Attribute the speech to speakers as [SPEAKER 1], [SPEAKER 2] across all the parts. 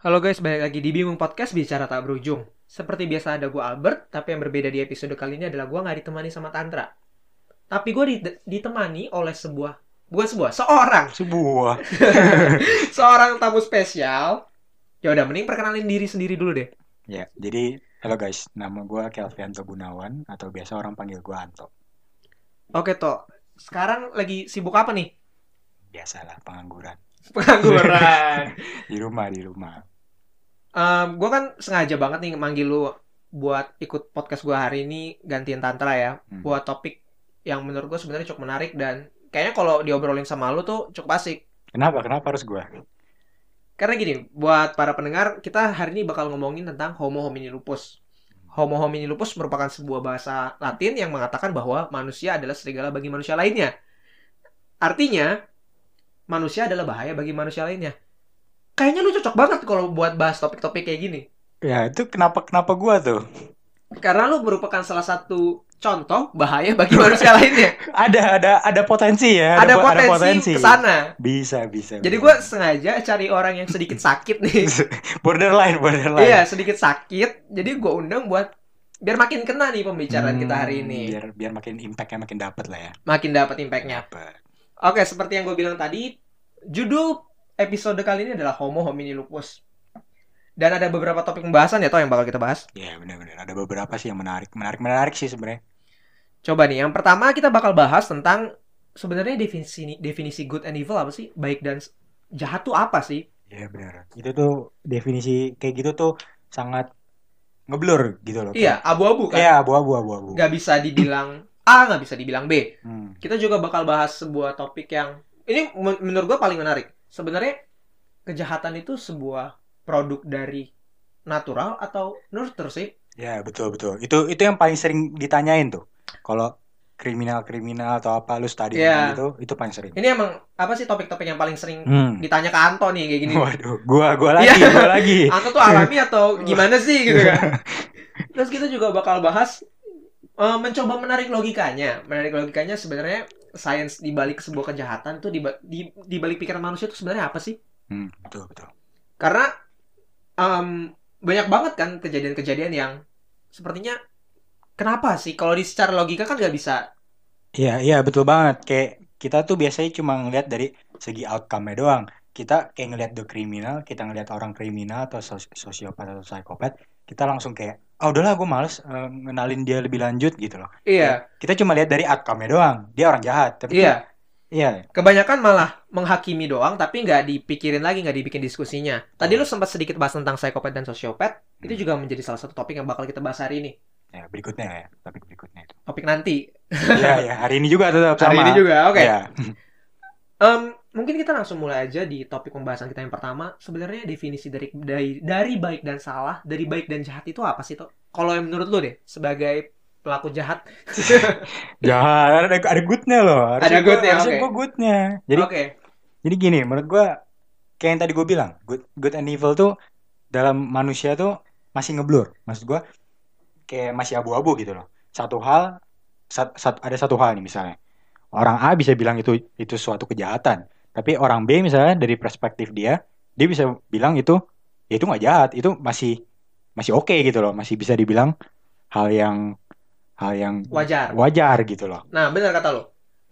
[SPEAKER 1] Halo guys, balik lagi di Bingung Podcast Bicara Tak Berujung. Seperti biasa ada gue Albert, tapi yang berbeda di episode kali ini adalah gue nggak ditemani sama Tantra. Tapi gue di- ditemani oleh sebuah, bukan sebuah, seorang,
[SPEAKER 2] Sebuah.
[SPEAKER 1] seorang tamu spesial. Ya udah, mending perkenalin diri sendiri dulu deh.
[SPEAKER 2] Ya, jadi halo guys, nama gue Kelvian Gunawan atau biasa orang panggil gue Anto.
[SPEAKER 1] Oke toh, sekarang lagi sibuk apa nih?
[SPEAKER 2] Biasalah pengangguran.
[SPEAKER 1] Pengangguran.
[SPEAKER 2] Di rumah, di rumah.
[SPEAKER 1] gue kan sengaja banget nih manggil lu buat ikut podcast gue hari ini gantiin Tantra ya.
[SPEAKER 2] Hmm.
[SPEAKER 1] Buat topik yang menurut gue sebenarnya cukup menarik dan kayaknya kalau diobrolin sama lu tuh cukup asik.
[SPEAKER 2] Kenapa? Kenapa harus gue?
[SPEAKER 1] Karena gini, buat para pendengar, kita hari ini bakal ngomongin tentang Homo homini lupus. Homo homini lupus merupakan sebuah bahasa Latin yang mengatakan bahwa manusia adalah serigala bagi manusia lainnya. Artinya, manusia adalah bahaya bagi manusia lainnya. Kayaknya lu cocok banget kalau buat bahas topik-topik kayak gini.
[SPEAKER 2] Ya itu kenapa kenapa gue tuh?
[SPEAKER 1] Karena lu merupakan salah satu contoh bahaya bagi manusia lainnya.
[SPEAKER 2] Ada ada ada potensi ya.
[SPEAKER 1] Ada,
[SPEAKER 2] po-
[SPEAKER 1] potensi, ke sana.
[SPEAKER 2] Bisa bisa.
[SPEAKER 1] Jadi
[SPEAKER 2] bisa.
[SPEAKER 1] gue sengaja cari orang yang sedikit sakit nih.
[SPEAKER 2] borderline borderline.
[SPEAKER 1] Iya, sedikit sakit. Jadi gue undang buat biar makin kena nih pembicaraan
[SPEAKER 2] Hmm,
[SPEAKER 1] kita hari ini.
[SPEAKER 2] Biar biar makin impactnya makin dapat lah ya.
[SPEAKER 1] Makin dapat impactnya.
[SPEAKER 2] Dapet.
[SPEAKER 1] Oke, seperti yang gue bilang tadi, judul episode kali ini adalah Homo homini lupus. Dan ada beberapa topik pembahasan ya, toh yang bakal kita bahas.
[SPEAKER 2] Ya benar-benar ada beberapa sih yang menarik menarik menarik sih sebenarnya.
[SPEAKER 1] Coba nih, yang pertama kita bakal bahas tentang sebenarnya definisi definisi good and evil apa sih? Baik dan s- jahat tuh apa sih?
[SPEAKER 2] Iya benar. Itu tuh definisi kayak gitu tuh sangat ngeblur gitu loh.
[SPEAKER 1] Iya, abu-abu kan.
[SPEAKER 2] Iya, abu-abu, abu-abu.
[SPEAKER 1] Gak bisa dibilang A, gak bisa dibilang B.
[SPEAKER 2] Hmm.
[SPEAKER 1] kita juga bakal bahas sebuah topik yang ini men- menurut gua paling menarik. Sebenarnya kejahatan itu sebuah produk dari natural atau nurture sih?
[SPEAKER 2] Ya, betul betul. Itu itu yang paling sering ditanyain tuh. Kalau kriminal-kriminal atau apa lu study
[SPEAKER 1] Iya.
[SPEAKER 2] gitu, itu paling sering.
[SPEAKER 1] Ini emang apa sih topik-topik yang paling sering
[SPEAKER 2] Hmm.
[SPEAKER 1] ditanya ke Anto nih kayak gini?
[SPEAKER 2] Waduh, gua gua lagi,
[SPEAKER 1] Iya.
[SPEAKER 2] gua lagi.
[SPEAKER 1] Anto tuh alami atau gimana sih gitu kan? Terus kita juga bakal bahas eh, mencoba menarik logikanya. Menarik logikanya sebenarnya sains dibalik sebuah kejahatan tuh diba- di dibalik pikiran manusia itu sebenarnya apa sih?
[SPEAKER 2] Hmm, betul betul.
[SPEAKER 1] karena em, banyak banget kan kejadian-kejadian yang sepertinya kenapa sih kalau di secara logika kan nggak bisa
[SPEAKER 2] Iya, iya betul banget. Kayak kita tuh biasanya cuma ngelihat dari segi outcome-nya doang. Kita kayak ngelihat the criminal, kita ngelihat orang kriminal atau sos- sosiopat atau psikopat, kita langsung kayak, ah udahlah gue males eh, ngenalin dia lebih lanjut gitu loh.
[SPEAKER 1] iya
[SPEAKER 2] Kita cuma lihat dari outcome-nya doang. Dia orang jahat, tapi
[SPEAKER 1] iya
[SPEAKER 2] iya,
[SPEAKER 1] kebanyakan malah menghakimi doang tapi nggak dipikirin lagi nggak dibikin diskusinya tadi lu sempat sedikit bahas tentang psikopat dan sosiopat itu juga menjadi salah satu topik yang bakal kita bahas hari ini
[SPEAKER 2] Ya, berikutnya ya, topik berikutnya itu.
[SPEAKER 1] topik nanti Iya.
[SPEAKER 2] ya, ya, hari ini juga tetap
[SPEAKER 1] hari
[SPEAKER 2] sama.
[SPEAKER 1] ini juga oke
[SPEAKER 2] Ya.
[SPEAKER 1] Em, mungkin kita langsung mulai aja di topik pembahasan kita yang pertama. Sebenarnya definisi dari dari, dari baik dan salah, dari baik dan jahat itu apa sih, Tok? Kalau yang menurut lu deh, sebagai pelaku jahat.
[SPEAKER 2] Jangan, ada ada goodnya loh. Harusnya
[SPEAKER 1] Ada goodnya,
[SPEAKER 2] gua, harusnya
[SPEAKER 1] oke.
[SPEAKER 2] gua goodnya. Jadi
[SPEAKER 1] Oke.
[SPEAKER 2] jadi gini, menurut gua kayak yang tadi gua bilang, good good and evil tuh dalam manusia tuh masih ngeblur. Maksud gua kayak masih abu-abu gitu loh. Satu hal sat- sat- ada satu hal nih misalnya. Orang A bisa bilang itu itu suatu kejahatan, tapi orang B misalnya dari perspektif dia, dia bisa bilang itu ya itu nggak jahat, itu masih masih oke gitu loh, masih bisa dibilang hal yang hal yang
[SPEAKER 1] Wajar.
[SPEAKER 2] wajar gitu loh.
[SPEAKER 1] Nah, benar kata lo.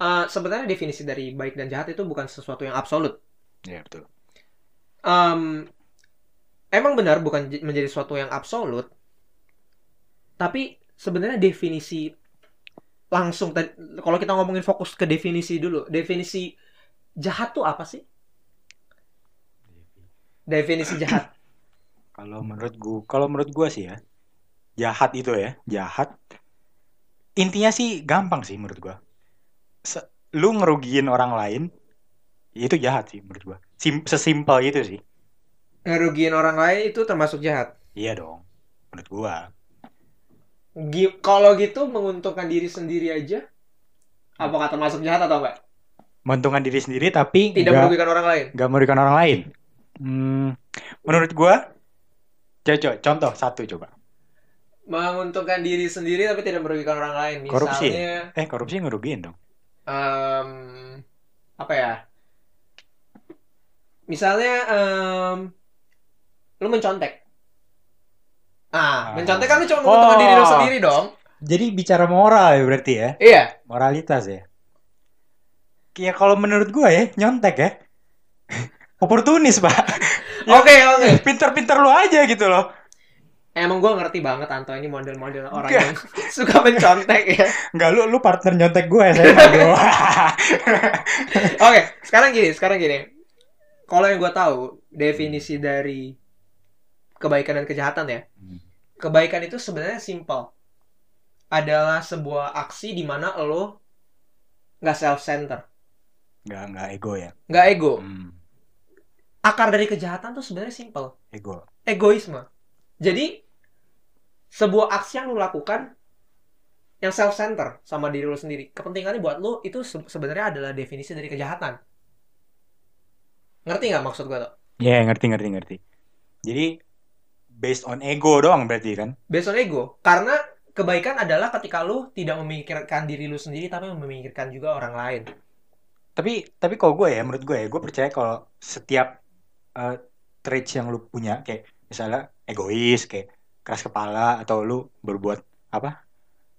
[SPEAKER 1] Eh, sebenarnya definisi dari baik dan jahat itu bukan sesuatu yang absolut.
[SPEAKER 2] Iya betul.
[SPEAKER 1] Em, emang benar bukan j- menjadi sesuatu yang absolut. Tapi sebenarnya definisi langsung tadi- kalau kita ngomongin fokus ke definisi dulu, definisi jahat tuh apa sih? Definisi jahat.
[SPEAKER 2] Kalau menurut gua, kalau menurut gua sih ya, jahat itu ya, jahat. Intinya sih gampang sih menurut gua. Se- lu ngerugiin orang lain, itu jahat sih menurut gua. Sim sesimpel itu sih.
[SPEAKER 1] Ngerugiin orang lain itu termasuk jahat.
[SPEAKER 2] Iya dong, menurut gua.
[SPEAKER 1] Gi- kalau gitu menguntungkan diri sendiri aja apakah termasuk jahat atau enggak?
[SPEAKER 2] Menguntungkan diri sendiri tapi
[SPEAKER 1] Tidak
[SPEAKER 2] nggak-
[SPEAKER 1] merugikan orang lain.
[SPEAKER 2] nggak merugikan orang lain. Hmm, menurut gua, cocok. Contoh satu coba.
[SPEAKER 1] menguntungkan diri sendiri tapi tidak merugikan orang lain.
[SPEAKER 2] Korupsi.
[SPEAKER 1] Misalnya,
[SPEAKER 2] Eh korupsi ngerugiin dong.
[SPEAKER 1] em, apa ya? Misalnya em, lu mencontek. Ah,
[SPEAKER 2] Ah.
[SPEAKER 1] mencontek kan lu cuma menguntungkan
[SPEAKER 2] Oh.
[SPEAKER 1] diri lu sendiri dong.
[SPEAKER 2] Jadi bicara moral ya berarti ya,
[SPEAKER 1] Iya.
[SPEAKER 2] moralitas ya. Ya kalau menurut gua ya, nyontek ya. Oportunis, Pak. Ya.
[SPEAKER 1] Oke, oke.
[SPEAKER 2] Pinter-pinter lu aja gitu loh.
[SPEAKER 1] Emang gua ngerti banget Anto ini model-model orang
[SPEAKER 2] Enggak.
[SPEAKER 1] yang suka mencontek ya.
[SPEAKER 2] Enggak lu lu partner nyontek gua ya, saya bro.
[SPEAKER 1] Oke, sekarang gini, sekarang gini. Kalau yang gue tahu definisi dari kebaikan dan kejahatan ya.
[SPEAKER 2] Hmm.
[SPEAKER 1] Kebaikan itu sebenarnya simple. Adalah sebuah aksi di mana lo nggak self center,
[SPEAKER 2] Enggak, enggak ego ya.
[SPEAKER 1] nggak ego.
[SPEAKER 2] Hmm,
[SPEAKER 1] Akar dari kejahatan tuh sebenarnya simple,
[SPEAKER 2] ego.
[SPEAKER 1] egoisme. Jadi sebuah aksi yang lo lakukan yang self center sama diri lo sendiri. Kepentingannya buat lo itu se- sebenarnya adalah definisi dari kejahatan. Ngerti nggak maksud gue?
[SPEAKER 2] Ya, ngerti ngerti ngerti. Jadi based on ego doang berarti kan?
[SPEAKER 1] based on ego karena kebaikan adalah ketika lu tidak memikirkan diri lu sendiri tapi memikirkan juga orang lain
[SPEAKER 2] tapi tapi kalau gue ya menurut gue ya gue percaya kalau setiap eh, traits yang lu punya kayak misalnya egois kayak keras kepala atau lu berbuat apa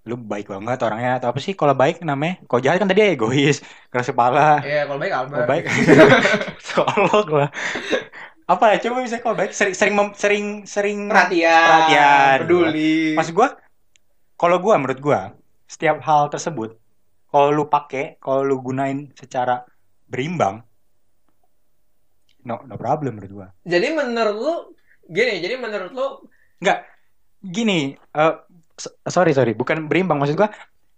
[SPEAKER 2] lu baik banget orangnya atau apa sih kalau baik namanya kalau jahat kan tadi egois keras kepala
[SPEAKER 1] ya kalau baik
[SPEAKER 2] kalau
[SPEAKER 1] Albert
[SPEAKER 2] baik solok lah apa ya coba bisa kalau baik sering sering mem- sering sering
[SPEAKER 1] perhatian,
[SPEAKER 2] Perhatian.
[SPEAKER 1] peduli
[SPEAKER 2] Maksud gue, kalau gue menurut gue, setiap hal tersebut, kalau lu pakai, kalau lu gunain secara berimbang, no, no problem menurut gue.
[SPEAKER 1] jadi menurut lu gini jadi menurut lu
[SPEAKER 2] Gini, eh, so- sorry sorry, bukan berimbang maksud gue.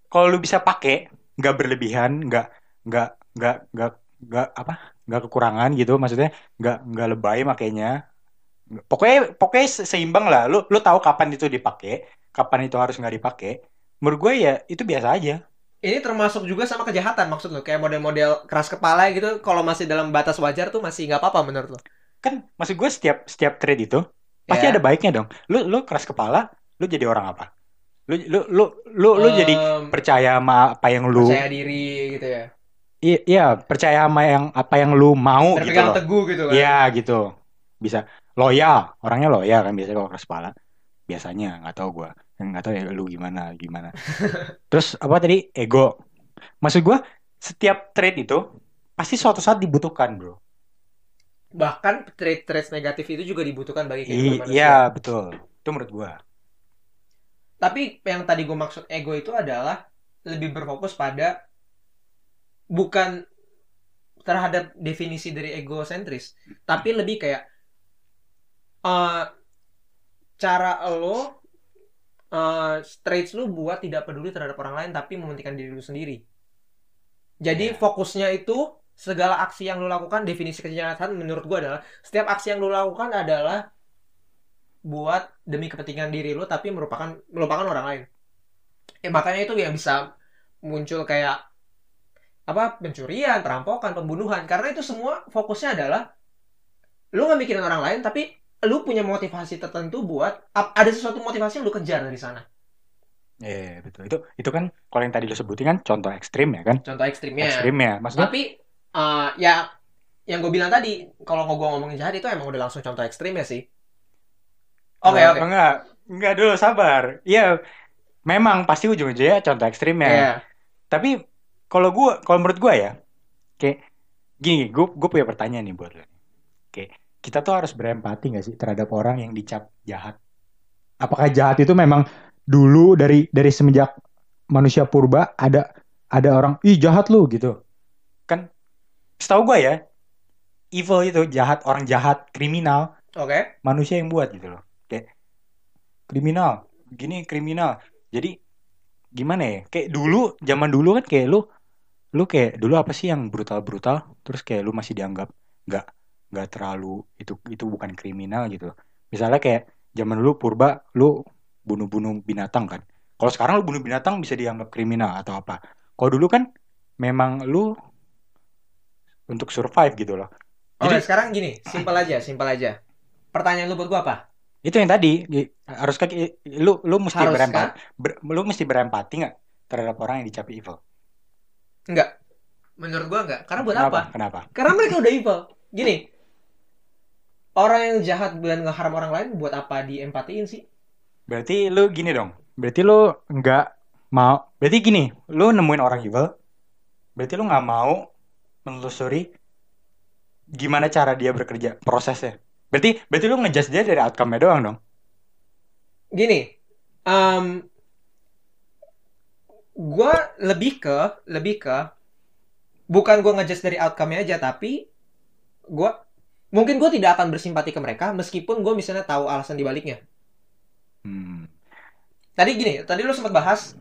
[SPEAKER 2] Kalau lu bisa pakai, nggak berlebihan, nggak nggak nggak nggak nggak apa, nggak kekurangan gitu, maksudnya nggak nggak lebay makainya. Pokoknya pokoknya se- seimbang lah. Lu lu tahu kapan itu dipakai, kapan itu harus nggak dipakai. Menurut gue ya itu biasa aja.
[SPEAKER 1] ini termasuk juga sama kejahatan maksud lu kayak model-model keras kepala gitu kalau masih dalam batas wajar tuh masih nggak apa-apa menurut lu
[SPEAKER 2] kan maksud gue setiap setiap trade itu pasti
[SPEAKER 1] Ya.
[SPEAKER 2] ada baiknya dong lu lu keras kepala lu jadi orang apa lu lu lu lu, lu
[SPEAKER 1] Em,
[SPEAKER 2] jadi percaya sama apa yang lu
[SPEAKER 1] Eh, percaya diri gitu ya
[SPEAKER 2] I- iya percaya sama yang apa yang lu mau gitu
[SPEAKER 1] terpegang
[SPEAKER 2] loh
[SPEAKER 1] teguh gitu kan
[SPEAKER 2] iya gitu bisa loyal orangnya loyal kan biasanya kalau keras kepala biasanya nggak tahu gue nggak tahu ya lu gimana gimana terus apa tadi ego maksud gue setiap trade itu pasti suatu saat dibutuhkan bro
[SPEAKER 1] bahkan trait-trait negatif itu juga dibutuhkan bagi
[SPEAKER 2] I-
[SPEAKER 1] kehidupan manusia
[SPEAKER 2] iya betul itu menurut gue
[SPEAKER 1] Tapi yang tadi gue maksud ego itu adalah lebih berfokus pada bukan terhadap definisi dari egosentris, tapi lebih kayak eh, cara lo eh traits lo buat tidak peduli terhadap orang lain tapi mementingkan diri lo sendiri. Jadi
[SPEAKER 2] Iya.
[SPEAKER 1] fokusnya itu segala aksi yang lo lakukan definisi kejahatan menurut gue adalah setiap aksi yang lo lakukan adalah buat demi kepentingan diri lo tapi merupakan melupakan orang lain. Ya, makanya itu yang bisa muncul kayak apa pencurian, perampokan, pembunuhan karena itu semua fokusnya adalah lu nggak mikirin orang lain tapi lu punya motivasi tertentu buat ap- ada sesuatu motivasi yang lu kejar dari sana.
[SPEAKER 2] Iya, iya, betul. Itu itu kan kalau yang tadi lo sebutin kan contoh ekstrim ya kan?
[SPEAKER 1] Contoh ekstrimnya.
[SPEAKER 2] Ekstrim ya. Maksudnya
[SPEAKER 1] Tapi eh, ya yang gue bilang tadi kalau gue ngomongin jahat itu emang udah langsung contoh ekstrimnya sih. Oke
[SPEAKER 2] Eh,
[SPEAKER 1] oke.
[SPEAKER 2] enggak enggak dulu sabar. Iya. Memang pasti ujung-ujungnya contoh ekstrim ya.
[SPEAKER 1] Iya.
[SPEAKER 2] Tapi kalau gua kalau menurut gua ya kayak gini, gua gua punya pertanyaan nih buat lo. Oke, kita tuh harus berempati gak sih terhadap orang yang dicap jahat? Apakah jahat itu memang dulu dari dari semenjak manusia purba ada ada orang ih jahat lu gitu. Kan setahu gua ya evil itu jahat, orang jahat, kriminal
[SPEAKER 1] Oke.
[SPEAKER 2] manusia yang buat gitu loh kayak kriminal gini kriminal jadi gimana ya kayak dulu zaman dulu kan kayak lu lu kayak dulu apa sih yang brutal brutal terus kayak lu masih dianggap nggak nggak terlalu itu itu bukan kriminal gitu misalnya kayak zaman dulu purba lu bunuh bunuh binatang kan kalau sekarang lu bunuh binatang bisa dianggap kriminal atau apa kalau dulu kan memang lu untuk survive gitu loh
[SPEAKER 1] Oke,
[SPEAKER 2] Jadi-
[SPEAKER 1] sekarang gini, simpel aja, simpel aja. Pertanyaan lu buat gue apa?
[SPEAKER 2] itu yang tadi i- harus kaki lu lu mesti
[SPEAKER 1] Harus kan?
[SPEAKER 2] berempat ber- lu mesti berempati nggak terhadap orang yang dicap evil
[SPEAKER 1] Menurut gue enggak. Karena Ah, buat
[SPEAKER 2] kenapa
[SPEAKER 1] apa?
[SPEAKER 2] kenapa
[SPEAKER 1] Karena mereka udah evil. Gini, orang yang jahat dan ngeharam orang lain buat apa diempatiin sih?
[SPEAKER 2] Berarti lu gini dong. Berarti lu nggak mau. Berarti gini, lu nemuin orang evil. Berarti lu nggak mau menelusuri gimana cara dia bekerja, prosesnya. Berarti berarti lu ngejudge dia dari outcome-nya doang dong.
[SPEAKER 1] Gini, um, gue lebih ke lebih ke bukan gue ngejudge dari outcome-nya aja tapi gue mungkin gue tidak akan bersimpati ke mereka meskipun gue misalnya tahu alasan dibaliknya
[SPEAKER 2] Hmm.
[SPEAKER 1] tadi gini tadi lu sempat bahas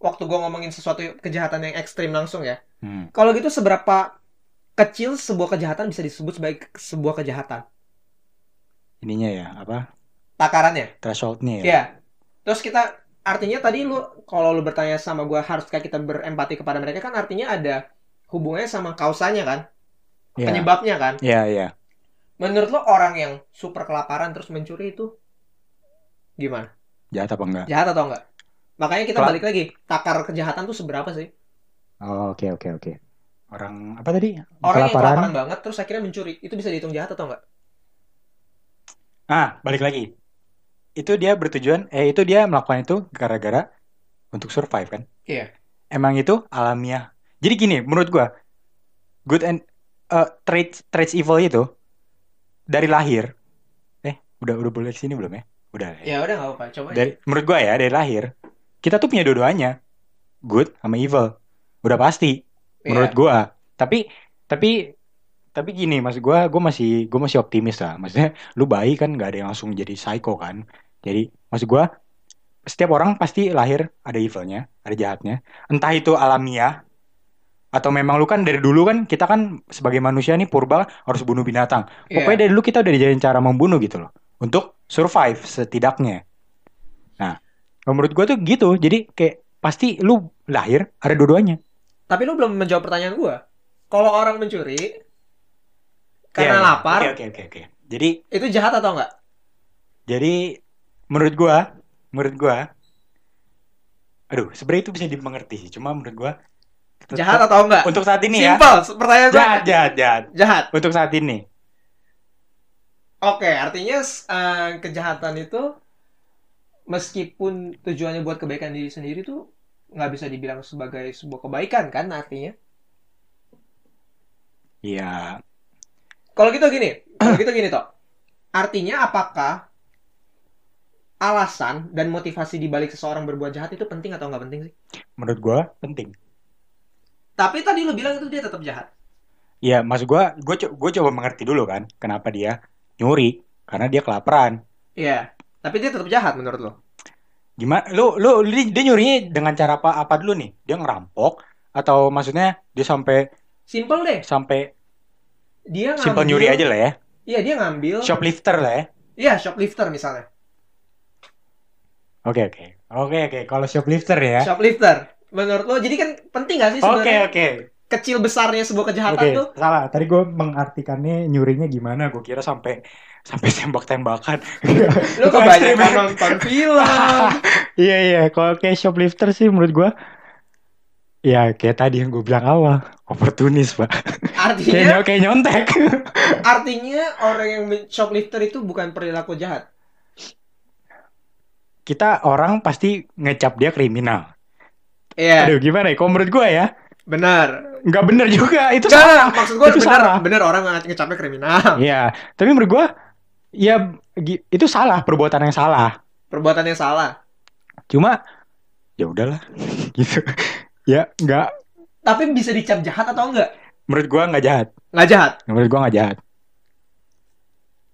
[SPEAKER 1] waktu gue ngomongin sesuatu kejahatan yang ekstrim langsung ya
[SPEAKER 2] Hmm.
[SPEAKER 1] kalau gitu seberapa kecil sebuah kejahatan bisa disebut sebagai ke- sebuah kejahatan
[SPEAKER 2] Ininya ya, apa?
[SPEAKER 1] takarannya
[SPEAKER 2] Threshold-nya ya.
[SPEAKER 1] ya terus kita artinya tadi lu kalau lu bertanya sama gue haruskah kita berempati kepada mereka kan artinya ada hubungannya sama kausanya kan
[SPEAKER 2] Iya.
[SPEAKER 1] penyebabnya kan
[SPEAKER 2] Iya, iya.
[SPEAKER 1] Menurut lo orang yang super kelaparan terus mencuri itu gimana?
[SPEAKER 2] Jahat apa enggak?
[SPEAKER 1] Jahat atau enggak? Makanya kita
[SPEAKER 2] Kelap-
[SPEAKER 1] balik lagi, takar kejahatan tuh seberapa sih?
[SPEAKER 2] Oh, oke oke oke. Orang apa tadi?
[SPEAKER 1] Orang yang
[SPEAKER 2] Kelaparan.
[SPEAKER 1] kelaparan banget terus akhirnya mencuri, itu bisa dihitung jahat atau enggak?
[SPEAKER 2] Ah, balik lagi. Itu dia bertujuan, eh itu dia melakukan itu gara-gara untuk survive kan?
[SPEAKER 1] Iya.
[SPEAKER 2] Emang itu alamiah. Jadi gini, menurut gua, good and eh, traits traits evil itu dari lahir. Eh, udah udah boleh kesini belum ya? Udah. ya?
[SPEAKER 1] Ya udah enggak apa-apa, coba. aja.
[SPEAKER 2] Dari menurut gua ya dari lahir kita tuh punya dua-duanya, good sama evil. Udah pasti
[SPEAKER 1] Iya.
[SPEAKER 2] menurut gua tapi tapi tapi gini maksud gua gua masih gua masih optimis lah maksudnya lu bayi kan nggak ada yang langsung jadi psycho kan jadi maksud gua setiap orang pasti lahir ada evilnya ada jahatnya entah itu alamiah atau memang lu kan dari dulu kan kita kan sebagai manusia nih purba harus bunuh binatang
[SPEAKER 1] Iya.
[SPEAKER 2] pokoknya dari dulu kita udah diajarin cara membunuh gitu loh untuk survive setidaknya nah menurut gua tuh gitu jadi kayak pasti lu lahir ada dua-duanya
[SPEAKER 1] Tapi lu belum menjawab pertanyaan gua. Kalau orang mencuri karena
[SPEAKER 2] Iya, iya.
[SPEAKER 1] lapar,
[SPEAKER 2] Oke oke oke oke. Jadi
[SPEAKER 1] itu jahat atau enggak?
[SPEAKER 2] jadi menurut gua, menurut gua aduh, sebenarnya itu bisa dimengerti sih, cuma menurut gua tetap-
[SPEAKER 1] Jahat atau enggak?
[SPEAKER 2] untuk saat ini ya.
[SPEAKER 1] Simple, pertanyaan gua.
[SPEAKER 2] Jahat, jahat, jahat.
[SPEAKER 1] Jahat.
[SPEAKER 2] Untuk saat ini.
[SPEAKER 1] Oke, artinya s- eh, kejahatan itu meskipun tujuannya buat kebaikan diri sendiri tuh nggak bisa dibilang sebagai sebuah kebaikan kan artinya.
[SPEAKER 2] Iya.
[SPEAKER 1] Kalau gitu gini, kalau gitu gini toh. Artinya apakah alasan dan motivasi dibalik seseorang berbuat jahat itu penting atau nggak penting sih?
[SPEAKER 2] Menurut gua penting.
[SPEAKER 1] Tapi tadi lu bilang itu dia tetap jahat.
[SPEAKER 2] Iya, maksud gua gua, co- gua coba mengerti dulu kan kenapa dia nyuri karena dia kelaparan.
[SPEAKER 1] Iya. Tapi dia tetap jahat menurut lo.
[SPEAKER 2] Gimana lu lu lu- dia nyurinya dengan cara apa apa dulu nih? Dia ngerampok atau maksudnya dia sampai
[SPEAKER 1] Simple deh.
[SPEAKER 2] sampai
[SPEAKER 1] Dia ngambil.
[SPEAKER 2] simple nyuri aja lah ya.
[SPEAKER 1] Iya dia ngambil.
[SPEAKER 2] Shoplifter lah ya.
[SPEAKER 1] Iya shoplifter misalnya.
[SPEAKER 2] Oke oke oke oke kalau shoplifter ya.
[SPEAKER 1] Shoplifter. Menurut lo jadi kan penting gak sih
[SPEAKER 2] Oke
[SPEAKER 1] sebenarnya?
[SPEAKER 2] oke
[SPEAKER 1] kecil besarnya sebuah kejahatan
[SPEAKER 2] oke
[SPEAKER 1] tuh
[SPEAKER 2] salah tadi gue mengartikannya nyurinya gimana gue kira sampai sampai tembak tembakan.
[SPEAKER 1] lu kebanyakan nonton film
[SPEAKER 2] Iya iya kalau kayak shoplifter sih menurut gue ya kayak tadi yang gue bilang awal oportunis pak. Kayak
[SPEAKER 1] artinya
[SPEAKER 2] nyo- kayak nyontek.
[SPEAKER 1] artinya orang yang men- shoplifter itu bukan perilaku jahat
[SPEAKER 2] Kita orang pasti ngecap dia kriminal.
[SPEAKER 1] iya
[SPEAKER 2] Aduh gimana ya? Kalau menurut gue ya
[SPEAKER 1] benar
[SPEAKER 2] nggak bener juga itu.
[SPEAKER 1] enggak maksud gue
[SPEAKER 2] Itu salah.
[SPEAKER 1] benar benar orang nge- ngecapnya kriminal
[SPEAKER 2] Iya tapi menurut gue ya gi- itu salah perbuatan yang salah.
[SPEAKER 1] perbuatan yang salah
[SPEAKER 2] cuma ya udahlah gitu ya nggak
[SPEAKER 1] tapi bisa dicap jahat atau enggak
[SPEAKER 2] menurut gua nggak jahat
[SPEAKER 1] nggak jahat
[SPEAKER 2] menurut gua nggak jahat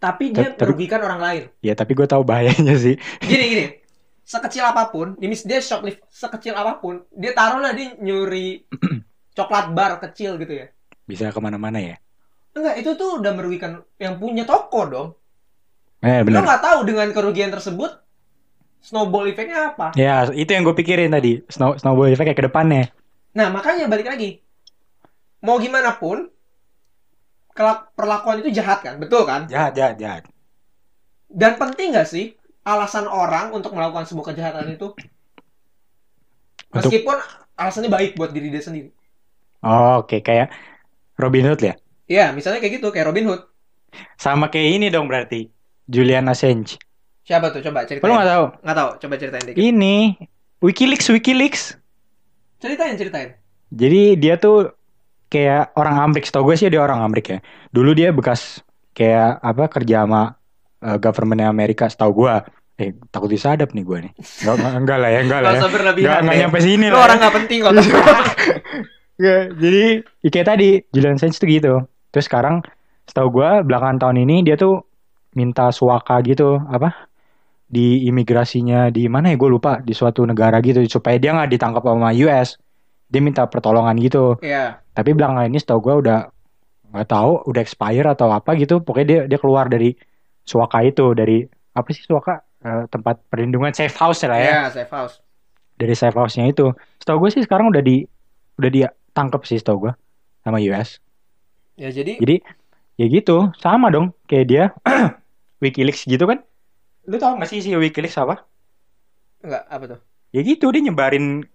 [SPEAKER 1] tapi dia
[SPEAKER 2] Ter- ter-
[SPEAKER 1] merugikan orang lain
[SPEAKER 2] ya tapi gua tahu bahayanya sih
[SPEAKER 1] gini gini sekecil apapun ini mis- dia shoplift sekecil apapun dia taruhlah dia nyuri coklat bar kecil gitu ya
[SPEAKER 2] bisa kemana-mana ya
[SPEAKER 1] enggak itu tuh udah merugikan yang punya toko dong
[SPEAKER 2] eh
[SPEAKER 1] Lo
[SPEAKER 2] benar
[SPEAKER 1] nggak tahu dengan kerugian tersebut snowball effect-nya apa.
[SPEAKER 2] ya itu yang gue pikirin tadi snow snowball effect kayak ke depannya
[SPEAKER 1] Nah, makanya balik lagi. Mau gimana pun, kelak- perlakuan itu jahat kan? Betul kan?
[SPEAKER 2] jahat jahat jahat
[SPEAKER 1] Dan penting nggak sih alasan orang untuk melakukan sebuah kejahatan itu?
[SPEAKER 2] Untuk-
[SPEAKER 1] Meskipun alasannya baik buat diri dia sendiri.
[SPEAKER 2] oh, oke kayak Robin Hood ya
[SPEAKER 1] Ya, misalnya kayak Iya, gitu, kayak Robin Hood.
[SPEAKER 2] Sama kayak ini dong berarti. Julian Assange.
[SPEAKER 1] Siapa tuh? Coba ceritain.
[SPEAKER 2] Kalau nggak tahu?
[SPEAKER 1] Nggak tahu. Coba ceritain dikit.
[SPEAKER 2] Ini WikiLeaks, WikiLeaks.
[SPEAKER 1] Ceritain, ceritain.
[SPEAKER 2] Jadi dia tuh kayak orang Amrik, tau gue sih dia orang Amrik ya. Dulu dia bekas kayak apa kerja sama eh, government Amerika, setahu gue. Eh, takut disadap nih gue nih. Enggak, enggak, enggak lah ya, enggak lah
[SPEAKER 1] Kalau
[SPEAKER 2] ya.
[SPEAKER 1] sabar lebih
[SPEAKER 2] Enggak, enggak nyampe sini
[SPEAKER 1] Lu
[SPEAKER 2] lah. ya.
[SPEAKER 1] orang nggak penting kok.
[SPEAKER 2] Ya, jadi ya kayak tadi Julian Assange tuh gitu. Terus sekarang setahu gua belakangan tahun ini dia tuh minta suaka gitu apa di imigrasinya di mana ya gue lupa di suatu negara gitu supaya dia nggak ditangkap sama US dia minta pertolongan gitu
[SPEAKER 1] Iya.
[SPEAKER 2] tapi belakangan ini setahu gua udah nggak tahu udah expire atau apa gitu pokoknya dia dia keluar dari suaka itu dari apa sih suaka Eh, tempat perlindungan safe house lah ya
[SPEAKER 1] Iya, safe house.
[SPEAKER 2] dari safe house-nya itu. Setahu gue sih sekarang udah di udah ditangkap sih setahu gue sama US.
[SPEAKER 1] Ya jadi,
[SPEAKER 2] Jadi ya gitu, sama dong kayak dia WikiLeaks gitu kan. Lu tau gak sih si WikiLeaks apa?
[SPEAKER 1] nggak apa tuh?
[SPEAKER 2] Ya gitu dia nyebarin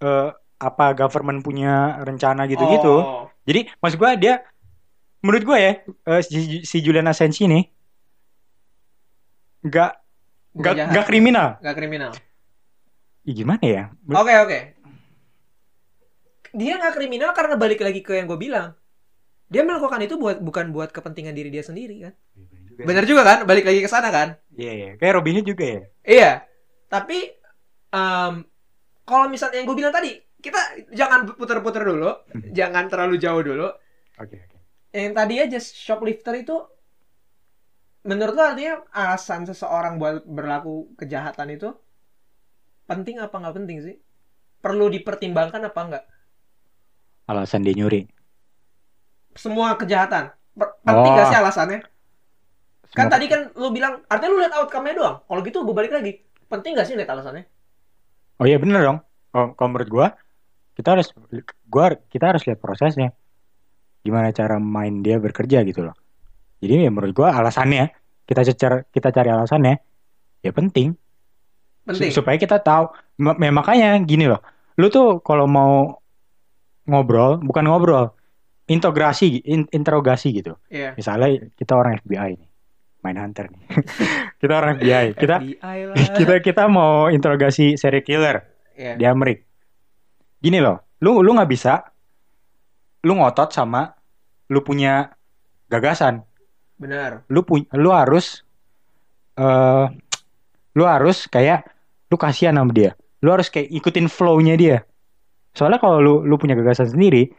[SPEAKER 2] eh, apa government punya rencana gitu-gitu.
[SPEAKER 1] Oh.
[SPEAKER 2] Jadi maksud gue dia menurut gue ya eh, si, si Julian Assange ini nggak
[SPEAKER 1] Bukan
[SPEAKER 2] nggak
[SPEAKER 1] jahat.
[SPEAKER 2] nggak kriminal.
[SPEAKER 1] Nggak kriminal.
[SPEAKER 2] Ih, gimana ya?
[SPEAKER 1] Oke, oke. Dia nggak kriminal karena balik lagi ke yang gue bilang. Dia melakukan itu buat bukan buat kepentingan diri dia sendiri kan.
[SPEAKER 2] Ya.
[SPEAKER 1] Bener juga kan? Balik lagi ke sana kan?
[SPEAKER 2] Iya, iya. Kayak Robinnya juga ya.
[SPEAKER 1] Iya. Tapi em, kalau misalnya yang gue bilang tadi, kita jangan puter-puter dulu, jangan terlalu jauh dulu.
[SPEAKER 2] Oke, oke.
[SPEAKER 1] Yang tadi aja shoplifter itu menurut lo artinya alasan seseorang buat berlaku kejahatan itu penting apa nggak penting sih? Perlu dipertimbangkan apa nggak?
[SPEAKER 2] Alasan dia nyuri.
[SPEAKER 1] semua kejahatan. Per- Penting gak
[SPEAKER 2] Oh.
[SPEAKER 1] sih alasannya? Kan
[SPEAKER 2] Semua-
[SPEAKER 1] tadi kan lu bilang, artinya lu lihat outcome-nya doang. Kalau gitu gue balik lagi. Penting gak sih lihat alasannya?
[SPEAKER 2] Oh iya bener dong. Kalau kalau menurut gua, kita harus gua kita harus lihat prosesnya. Gimana cara main dia bekerja gitu loh. Jadi ya menurut gua alasannya kita cecer kita cari alasannya ya penting, Su-
[SPEAKER 1] Penting.
[SPEAKER 2] supaya kita tahu Ma- ya makanya gini loh. Lu tuh kalau mau ngobrol, bukan ngobrol, integrasi in- interogasi gitu.
[SPEAKER 1] Iya.
[SPEAKER 2] Misalnya kita orang FBI nih. Main hunter nih. kita orang FBI. Kita Eh,
[SPEAKER 1] FBI lah.
[SPEAKER 2] kita kita mau interogasi serial killer
[SPEAKER 1] Iya.
[SPEAKER 2] di Amerika. Gini loh, lu lu nggak bisa, lu ngotot sama, lu punya gagasan,
[SPEAKER 1] Benar.
[SPEAKER 2] lu punya, lu harus, eh lu harus kayak, lu kasihan sama dia, lu harus kayak ikutin flow-nya dia. Soalnya kalau lu lu punya gagasan sendiri,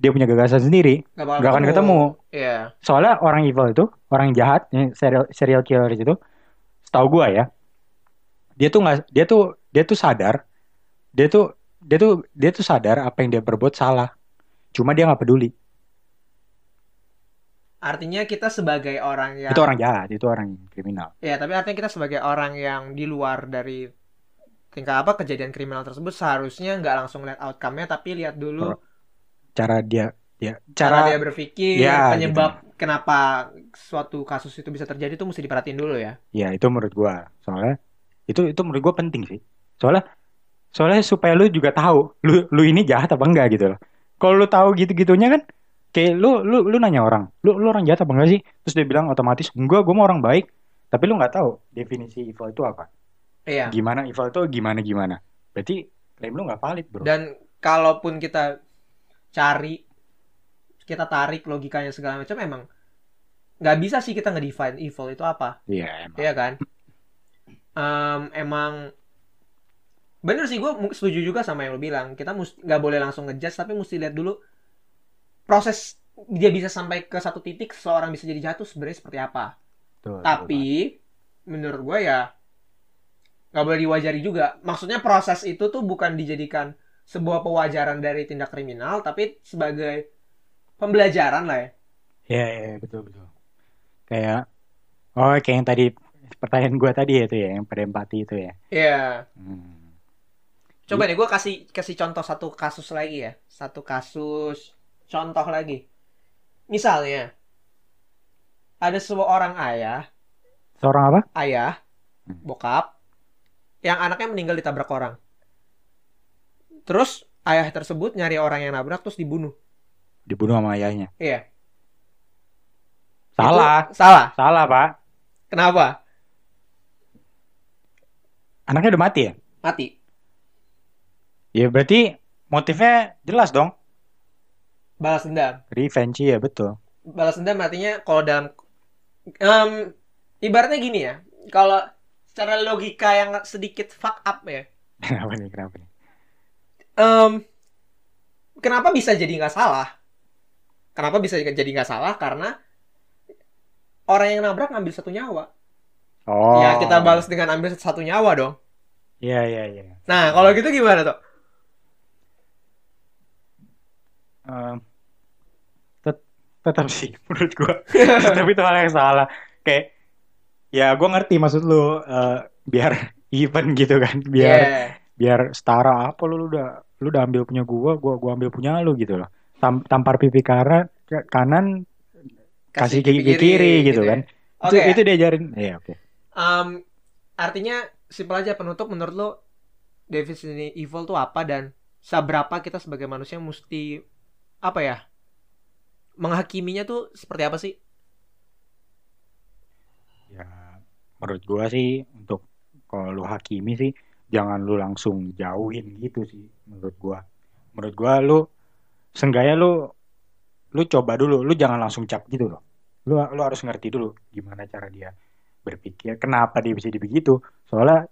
[SPEAKER 2] dia punya gagasan sendiri,
[SPEAKER 1] Gak, bakal
[SPEAKER 2] nggak akan ketemu.
[SPEAKER 1] Iya.
[SPEAKER 2] Soalnya orang evil itu, orang jahat, yang serial serial killer itu, setahu gua ya, dia tuh nggak, dia tuh dia tuh sadar, dia tuh dia tuh dia tuh sadar apa yang dia perbuat salah. Cuma dia nggak peduli.
[SPEAKER 1] Artinya kita sebagai orang yang...
[SPEAKER 2] Itu orang jahat, itu orang kriminal.
[SPEAKER 1] Ya, tapi artinya kita sebagai orang yang di luar dari tingkat apa kejadian kriminal tersebut seharusnya nggak langsung lihat outcome-nya tapi lihat dulu
[SPEAKER 2] Cara dia dia
[SPEAKER 1] cara,
[SPEAKER 2] cara,
[SPEAKER 1] dia berpikir
[SPEAKER 2] Ya,
[SPEAKER 1] penyebab kenapa suatu kasus itu bisa terjadi itu mesti diperhatiin dulu ya
[SPEAKER 2] ya itu menurut gua. Soalnya itu itu menurut gua penting sih. Soalnya soalnya supaya lu juga tahu lu lu ini jahat apa enggak gitu loh. Kalau lu tahu gitu-gitunya kan kayak lu lu lu nanya orang, lu lu orang jahat apa enggak sih? Terus dia bilang otomatis enggak, gua mau orang baik. Tapi lu nggak tahu definisi evil itu apa.
[SPEAKER 1] iya
[SPEAKER 2] Gimana evil itu gimana gimana. Berarti klaim lu nggak valid, Bro.
[SPEAKER 1] dan kalaupun kita cari kita tarik logikanya segala macam emang nggak bisa sih kita nge-define evil itu apa
[SPEAKER 2] Iya, emang.
[SPEAKER 1] ya kan Em, emang bener sih gue setuju juga sama yang lo bilang kita mus- nggak boleh langsung ngejudge tapi mesti lihat dulu proses dia bisa sampai ke satu titik seorang bisa jadi jatuh sebenarnya seperti apa
[SPEAKER 2] Betul, betul
[SPEAKER 1] tapi menurut gue ya nggak boleh diwajari juga maksudnya proses itu tuh bukan dijadikan sebuah pewajaran dari tindak kriminal tapi sebagai pembelajaran lah ya
[SPEAKER 2] Iya, iya, iya, betul, betul. Kayak, oh kayak yang tadi, pertanyaan gua tadi ya itu ya, yang pada empati itu ya.
[SPEAKER 1] Iya.
[SPEAKER 2] Hmm.
[SPEAKER 1] coba deh gue kasih kasih contoh satu kasus lagi ya satu kasus contoh lagi misalnya ada seorang ayah
[SPEAKER 2] Seorang apa?
[SPEAKER 1] ayah bokap yang anaknya meninggal ditabrak orang terus ayah tersebut nyari orang yang nabrak terus dibunuh
[SPEAKER 2] Dibunuh sama ayahnya.
[SPEAKER 1] Iya.
[SPEAKER 2] Salah,
[SPEAKER 1] Itu salah.
[SPEAKER 2] salah pak.
[SPEAKER 1] Kenapa?
[SPEAKER 2] Anaknya udah mati ya?
[SPEAKER 1] Mati.
[SPEAKER 2] Ya berarti motifnya jelas dong.
[SPEAKER 1] Balas dendam.
[SPEAKER 2] Revenge ya betul.
[SPEAKER 1] Balas dendam artinya kalau dalam Em, ibaratnya gini ya. Kalau secara logika yang sedikit fuck up ya.
[SPEAKER 2] kenapa nih? Kenapa nih?
[SPEAKER 1] Em, kenapa bisa jadi nggak salah? Kenapa bisa jadi nggak salah? Karena orang yang nabrak ngambil satu nyawa.
[SPEAKER 2] Oh.
[SPEAKER 1] Ya kita balas dengan ambil satu nyawa dong.
[SPEAKER 2] Iya iya iya.
[SPEAKER 1] Nah kalau gitu gimana tuh?
[SPEAKER 2] Em, tet- tetap sih menurut gua. tetap itu hal yang salah. Kayak ya gua ngerti maksud lu eh, biar even gitu kan. Biar
[SPEAKER 1] Yeah.
[SPEAKER 2] biar setara apa lu, lu udah lu udah ambil punya gua, gua gua ambil punya lu gitu loh. Tam- tampar pipi kanan kanan kasih gigi kiri, gitu, kan.
[SPEAKER 1] ya. Oke.
[SPEAKER 2] Itu itu diajarin. Iya oke.
[SPEAKER 1] Em, artinya simpel aja penutup menurut lo definisi evil tuh apa dan seberapa kita sebagai manusia mesti apa ya menghakiminya tuh seperti apa sih?
[SPEAKER 2] Ya, menurut gua sih untuk kalau lu hakimi sih jangan lu langsung jauhin gitu sih menurut gua. Menurut gua lu seenggaknya lu lu coba dulu, lu jangan langsung cap gitu loh. Lu lu harus ngerti dulu gimana cara dia berpikir, kenapa dia bisa begitu. Soalnya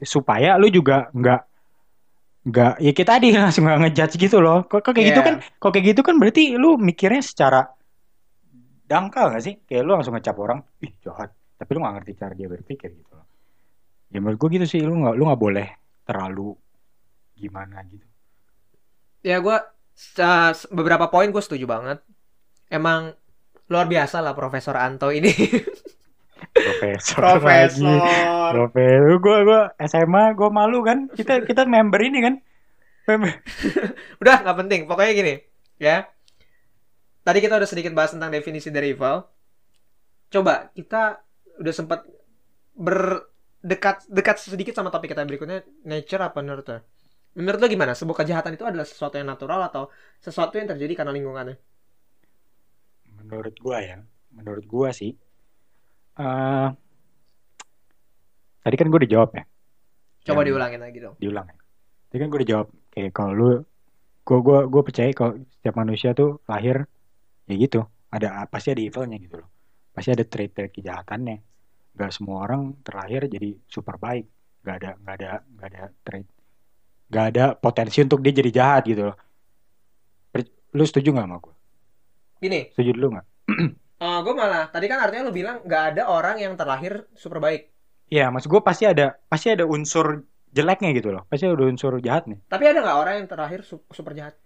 [SPEAKER 2] supaya lu juga nggak nggak ya kita tadi langsung nggak ngejudge gitu loh. Kok kok kayak gitu
[SPEAKER 1] Yeah.
[SPEAKER 2] kan Kok kayak gitu kan berarti lu mikirnya secara dangkal gak sih? Kayak lu langsung ngecap orang, ih jahat. Tapi lu gak ngerti cara dia berpikir gitu loh. Ya menurut gue gitu sih, lu gak, lu gak boleh terlalu gimana gitu.
[SPEAKER 1] ya gue beberapa poin gue setuju banget emang luar biasa lah Profesor Anto ini
[SPEAKER 2] Profesor lagi. Profesor. Gue gua SMA, gue malu kan. Kita kita member ini kan. Member.
[SPEAKER 1] udah nggak penting pokoknya gini ya tadi kita udah sedikit bahas tentang definisi dari evil coba kita udah sempat berdekat dekat sedikit sama topik kita berikutnya nature apa menurut lo menurut lo gimana sebuah kejahatan itu adalah sesuatu yang natural atau sesuatu yang terjadi karena lingkungannya
[SPEAKER 2] Menurut gue ya, menurut gue sih. eh tadi kan gue udah jawab ya.
[SPEAKER 1] coba
[SPEAKER 2] Yang-
[SPEAKER 1] diulangin lagi dong
[SPEAKER 2] diulang ya. Tadi kan gue udah jawab kayak kalau lu gue gue gue percaya kalau setiap manusia tuh lahir ya gitu ada pasti ada evilnya gitu loh pasti ada trait trait kejahatannya nggak semua orang terlahir jadi super baik nggak ada nggak ada nggak ada trait nggak ada potensi untuk dia jadi jahat gitu loh Per- lu setuju nggak sama gue
[SPEAKER 1] gini
[SPEAKER 2] setuju dulu nggak
[SPEAKER 1] Oh, gue malah tadi kan artinya lu bilang nggak ada orang yang terlahir super baik.
[SPEAKER 2] Iya, maksud gue pasti ada pasti ada unsur jeleknya gitu loh pasti ada unsur jahatnya
[SPEAKER 1] Tapi ada nggak orang yang terlahir su- super jahat?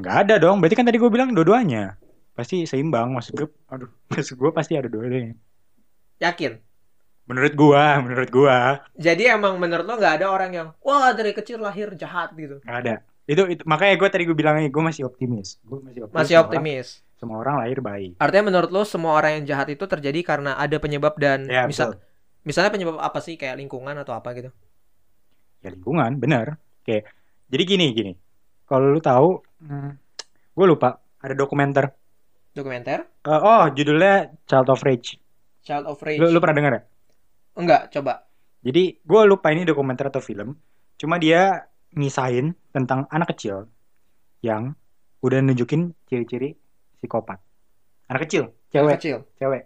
[SPEAKER 2] Nggak ada dong. Berarti kan tadi gue bilang dua-duanya. Pasti seimbang. Maksud gue, aduh, maksud gue pasti ada dua-duanya.
[SPEAKER 1] Yakin?
[SPEAKER 2] Menurut gue, menurut gue
[SPEAKER 1] Jadi emang menurut lo nggak ada orang yang wah dari kecil lahir jahat gitu?
[SPEAKER 2] nggak ada. Itu, itu makanya gue tadi gue bilangnya gue masih optimis. Gue masih optimis.
[SPEAKER 1] Masih
[SPEAKER 2] Iya, semua
[SPEAKER 1] optimis.
[SPEAKER 2] orang- semua orang lahir baik.
[SPEAKER 1] Artinya menurut lo semua orang yang jahat itu terjadi karena ada penyebab dan
[SPEAKER 2] Ya,
[SPEAKER 1] misal
[SPEAKER 2] betul.
[SPEAKER 1] misalnya penyebab apa sih kayak lingkungan atau apa gitu?
[SPEAKER 2] Ya lingkungan, benar. Oke. Jadi gini, gini. Kalau lu tahu, hmm, gue lupa. Ada dokumenter.
[SPEAKER 1] Dokumenter?
[SPEAKER 2] Eh, oh, judulnya Child of Rage.
[SPEAKER 1] Child of Rage?
[SPEAKER 2] Lu, lu pernah dengar ya?
[SPEAKER 1] Enggak, coba.
[SPEAKER 2] Jadi gue lupa ini dokumenter atau film. Cuma dia ngisahin tentang anak kecil yang udah nunjukin ciri-ciri psikopat. Anak kecil,
[SPEAKER 1] Anak
[SPEAKER 2] cewek,
[SPEAKER 1] Kecil.
[SPEAKER 2] cewek.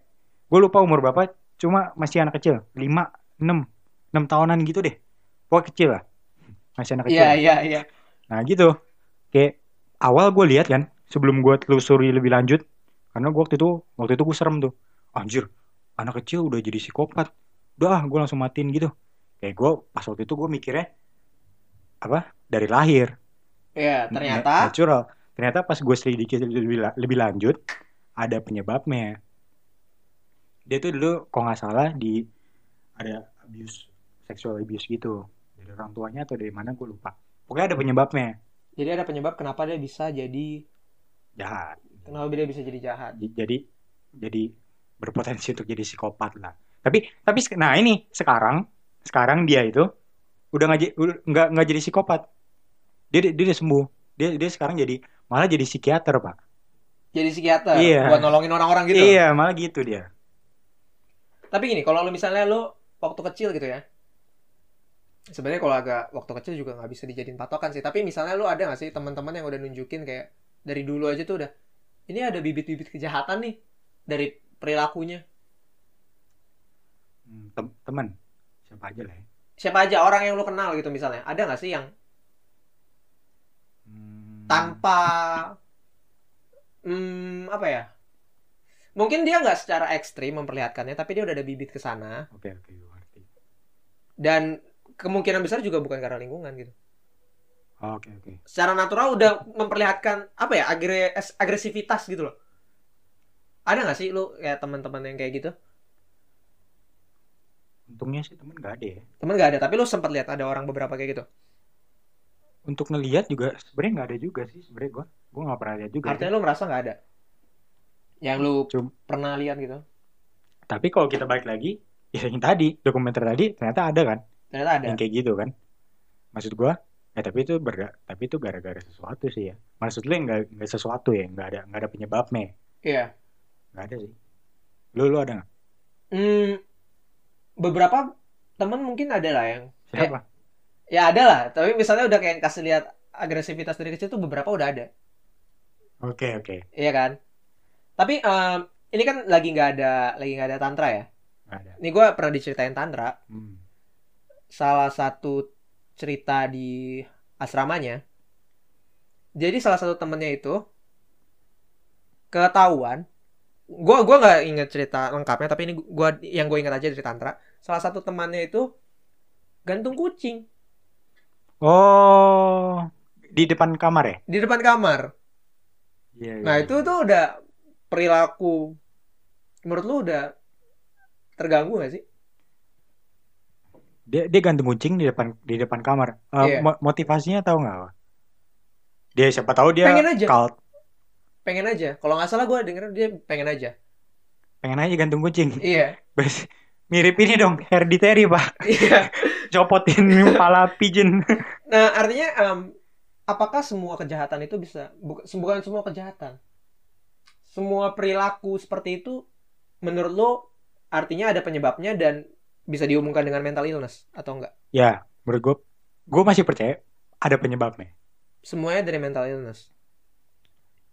[SPEAKER 2] Gue lupa umur berapa, cuma masih anak kecil, 5, 6, 6 tahunan gitu deh. Pokoknya kecil lah. Masih anak kecil.
[SPEAKER 1] Iya, iya, iya.
[SPEAKER 2] Nah gitu. Kayak awal gue lihat kan, sebelum gue telusuri lebih lanjut, karena gue waktu itu waktu itu gue serem tuh. Anjir, anak kecil udah jadi psikopat. Udah, gue langsung matiin gitu. Kayak gue pas waktu itu gue mikirnya apa? Dari lahir.
[SPEAKER 1] Iya,
[SPEAKER 2] Na-
[SPEAKER 1] ternyata
[SPEAKER 2] natural. Ternyata pas gue selidiki lebih, la- lebih lanjut, ada penyebabnya. Dia tuh dulu kalau nggak salah di ada abuse sexual abuse gitu dari orang tuanya atau dari mana gue lupa. Pokoknya ada penyebabnya.
[SPEAKER 1] jadi ada penyebab kenapa dia bisa jadi
[SPEAKER 2] jahat
[SPEAKER 1] kenapa dia bisa jadi jahat.
[SPEAKER 2] J- jadi jadi berpotensi untuk jadi psikopat lah tapi tapi sek- nah ini sekarang sekarang dia itu udah nggak j- udah nggak nggak jadi psikopat dia dia dia udah sembuh dia dia sekarang jadi malah jadi psikiater pak
[SPEAKER 1] jadi psikiater
[SPEAKER 2] Iya.
[SPEAKER 1] buat nolongin orang-orang gitu.
[SPEAKER 2] Iya, malah gitu dia.
[SPEAKER 1] Tapi gini, kalau lu misalnya lu waktu kecil gitu ya. Sebenarnya kalau agak waktu kecil juga nggak bisa dijadiin patokan sih. Tapi misalnya lu ada nggak sih teman-teman yang udah nunjukin kayak dari dulu aja tuh udah ini ada bibit-bibit kejahatan nih dari perilakunya.
[SPEAKER 2] Hmm, tem- Temen. Siapa aja lah ya.
[SPEAKER 1] Siapa aja orang yang lu kenal gitu misalnya. Ada nggak sih yang
[SPEAKER 2] Hmm.
[SPEAKER 1] tanpa hmm, apa ya? Mungkin dia nggak secara ekstrim memperlihatkannya, tapi dia udah ada bibit ke sana
[SPEAKER 2] Oke, oke, gue ngerti.
[SPEAKER 1] dan kemungkinan besar juga bukan karena lingkungan gitu.
[SPEAKER 2] Oh, Oke, oke.
[SPEAKER 1] secara natural udah memperlihatkan apa ya agre- es- agresivitas gitu loh ada nggak sih lu kayak teman-teman yang kayak gitu
[SPEAKER 2] Untungnya sih temen gak ada ya.
[SPEAKER 1] temen nggak ada tapi lu sempat lihat ada orang beberapa kayak gitu
[SPEAKER 2] Untuk ngelihat juga sebenarnya nggak ada juga sih sebenarnya gue. Gue nggak pernah lihat juga. ya.
[SPEAKER 1] artinya lu merasa nggak ada yang lu
[SPEAKER 2] Cum-
[SPEAKER 1] pernah lihat gitu
[SPEAKER 2] Tapi kalau kita balik lagi, ya yang tadi dokumenter tadi ternyata ada kan,
[SPEAKER 1] ternyata ada
[SPEAKER 2] yang kayak gitu kan. Maksud gue, ya tapi itu berga, tapi itu gara-gara sesuatu sih ya. Maksud lu yang nggak nggak sesuatu ya, nggak ada nggak ada penyebabnya, ya?
[SPEAKER 1] iya
[SPEAKER 2] nggak ada sih. Lu lu ada nggak?
[SPEAKER 1] Hmm, beberapa temen mungkin ada lah yang
[SPEAKER 2] Siapa?
[SPEAKER 1] ya ada lah tapi misalnya udah kayak kasih lihat agresivitas dari kecil tuh beberapa udah ada
[SPEAKER 2] Oke oke,
[SPEAKER 1] iya kan tapi em, ini kan lagi nggak ada lagi nggak ada tantra ya
[SPEAKER 2] nggak ada.
[SPEAKER 1] ini gue pernah diceritain tantra
[SPEAKER 2] Hmm.
[SPEAKER 1] salah satu cerita di asramanya. Jadi salah satu temennya itu ketahuan. Gua gua nggak inget cerita lengkapnya, tapi ini gua yang gue inget aja dari tantra. Salah satu temannya itu gantung kucing
[SPEAKER 2] Oh, di depan kamar ya?
[SPEAKER 1] di depan kamar.
[SPEAKER 2] Iya. iya,
[SPEAKER 1] Nah
[SPEAKER 2] iya.
[SPEAKER 1] itu tuh udah perilaku menurut lu udah terganggu gak sih?
[SPEAKER 2] Dia dia gantung kucing di depan di depan kamar. Eh,
[SPEAKER 1] Iya.
[SPEAKER 2] mo- motivasinya tahu nggak? Wak? Dia siapa tahu dia
[SPEAKER 1] Pengen aja.
[SPEAKER 2] cult.
[SPEAKER 1] Pengen aja. Kalau nggak salah gue denger dia pengen aja.
[SPEAKER 2] pengen aja gantung kucing.
[SPEAKER 1] Iya,
[SPEAKER 2] Bas- Mirip ini dong, hereditary pak.
[SPEAKER 1] iya.
[SPEAKER 2] Copotin kepala pigeon.
[SPEAKER 1] Nah, artinya em, apakah semua kejahatan itu bisa bukan bukan semua kejahatan. Semua perilaku seperti itu menurut lo artinya ada penyebabnya dan bisa dihubungkan dengan mental illness atau enggak?
[SPEAKER 2] ya, menurut gue, gue masih percaya ada penyebabnya.
[SPEAKER 1] Semuanya dari mental illness.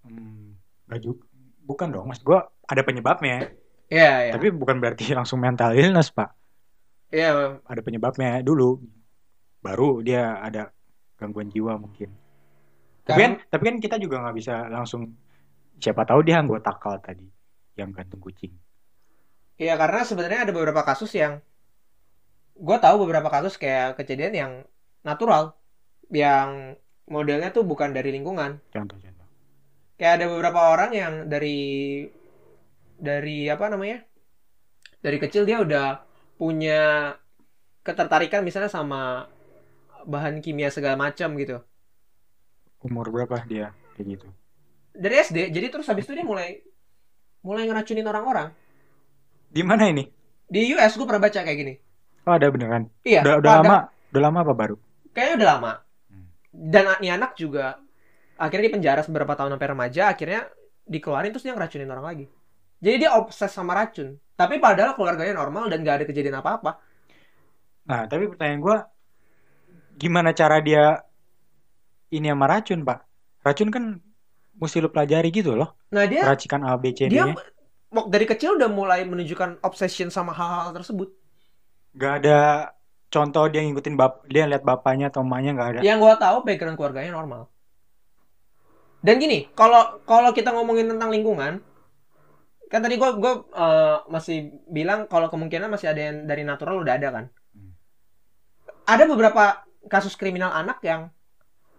[SPEAKER 2] Hmm, nggak juga. Bukan dong, mas gue ada penyebabnya.
[SPEAKER 1] Iya, iya.
[SPEAKER 2] Tapi bukan berarti langsung mental illness pak.
[SPEAKER 1] Iya,
[SPEAKER 2] Ada penyebabnya dulu, baru dia ada gangguan jiwa mungkin. Tapi kan,
[SPEAKER 1] karena-
[SPEAKER 2] tapi kan kita juga nggak bisa langsung. Siapa tahu dia anggota kal tadi yang gantung kucing.
[SPEAKER 1] Iya, karena sebenarnya ada beberapa kasus yang gue tahu beberapa kasus kayak kejadian yang natural yang modelnya tuh bukan dari lingkungan.
[SPEAKER 2] Contoh-contoh.
[SPEAKER 1] kayak ada beberapa orang yang dari dari apa namanya dari kecil dia udah punya ketertarikan misalnya sama bahan kimia segala macam gitu
[SPEAKER 2] Umur berapa dia kayak gitu?
[SPEAKER 1] dari SD jadi terus habis itu dia mulai mulai ngeracunin orang-orang
[SPEAKER 2] Di mana ini?
[SPEAKER 1] di US gue pernah baca kayak gini
[SPEAKER 2] Oh ada beneran.
[SPEAKER 1] iya
[SPEAKER 2] udah, udah
[SPEAKER 1] pada-
[SPEAKER 2] lama udah lama apa baru
[SPEAKER 1] kayaknya udah lama
[SPEAKER 2] Hmm.
[SPEAKER 1] dan ini anak juga akhirnya di penjara beberapa tahun sampai remaja akhirnya dikeluarin terus dia ngeracunin orang lagi jadi dia obses sama racun tapi padahal keluarganya normal dan gak ada kejadian apa-apa
[SPEAKER 2] nah tapi pertanyaan gua gimana cara dia ini sama racun pak racun kan mesti lu pelajari gitu loh
[SPEAKER 1] Nah dia
[SPEAKER 2] racikan A B C D
[SPEAKER 1] dia
[SPEAKER 2] nya
[SPEAKER 1] wak- dari kecil udah mulai menunjukkan obsession sama hal-hal tersebut.
[SPEAKER 2] nggak ada contoh dia ngikutin bap dia lihat bapaknya atau emaknya nggak ada
[SPEAKER 1] Yang gua tahu background keluarganya normal. Dan gini, kalau kalau kita ngomongin tentang lingkungan, kan tadi gua gua eh, masih bilang kalau kemungkinan masih ada yang dari natural udah ada kan.
[SPEAKER 2] Hmm.
[SPEAKER 1] Ada beberapa kasus kriminal anak yang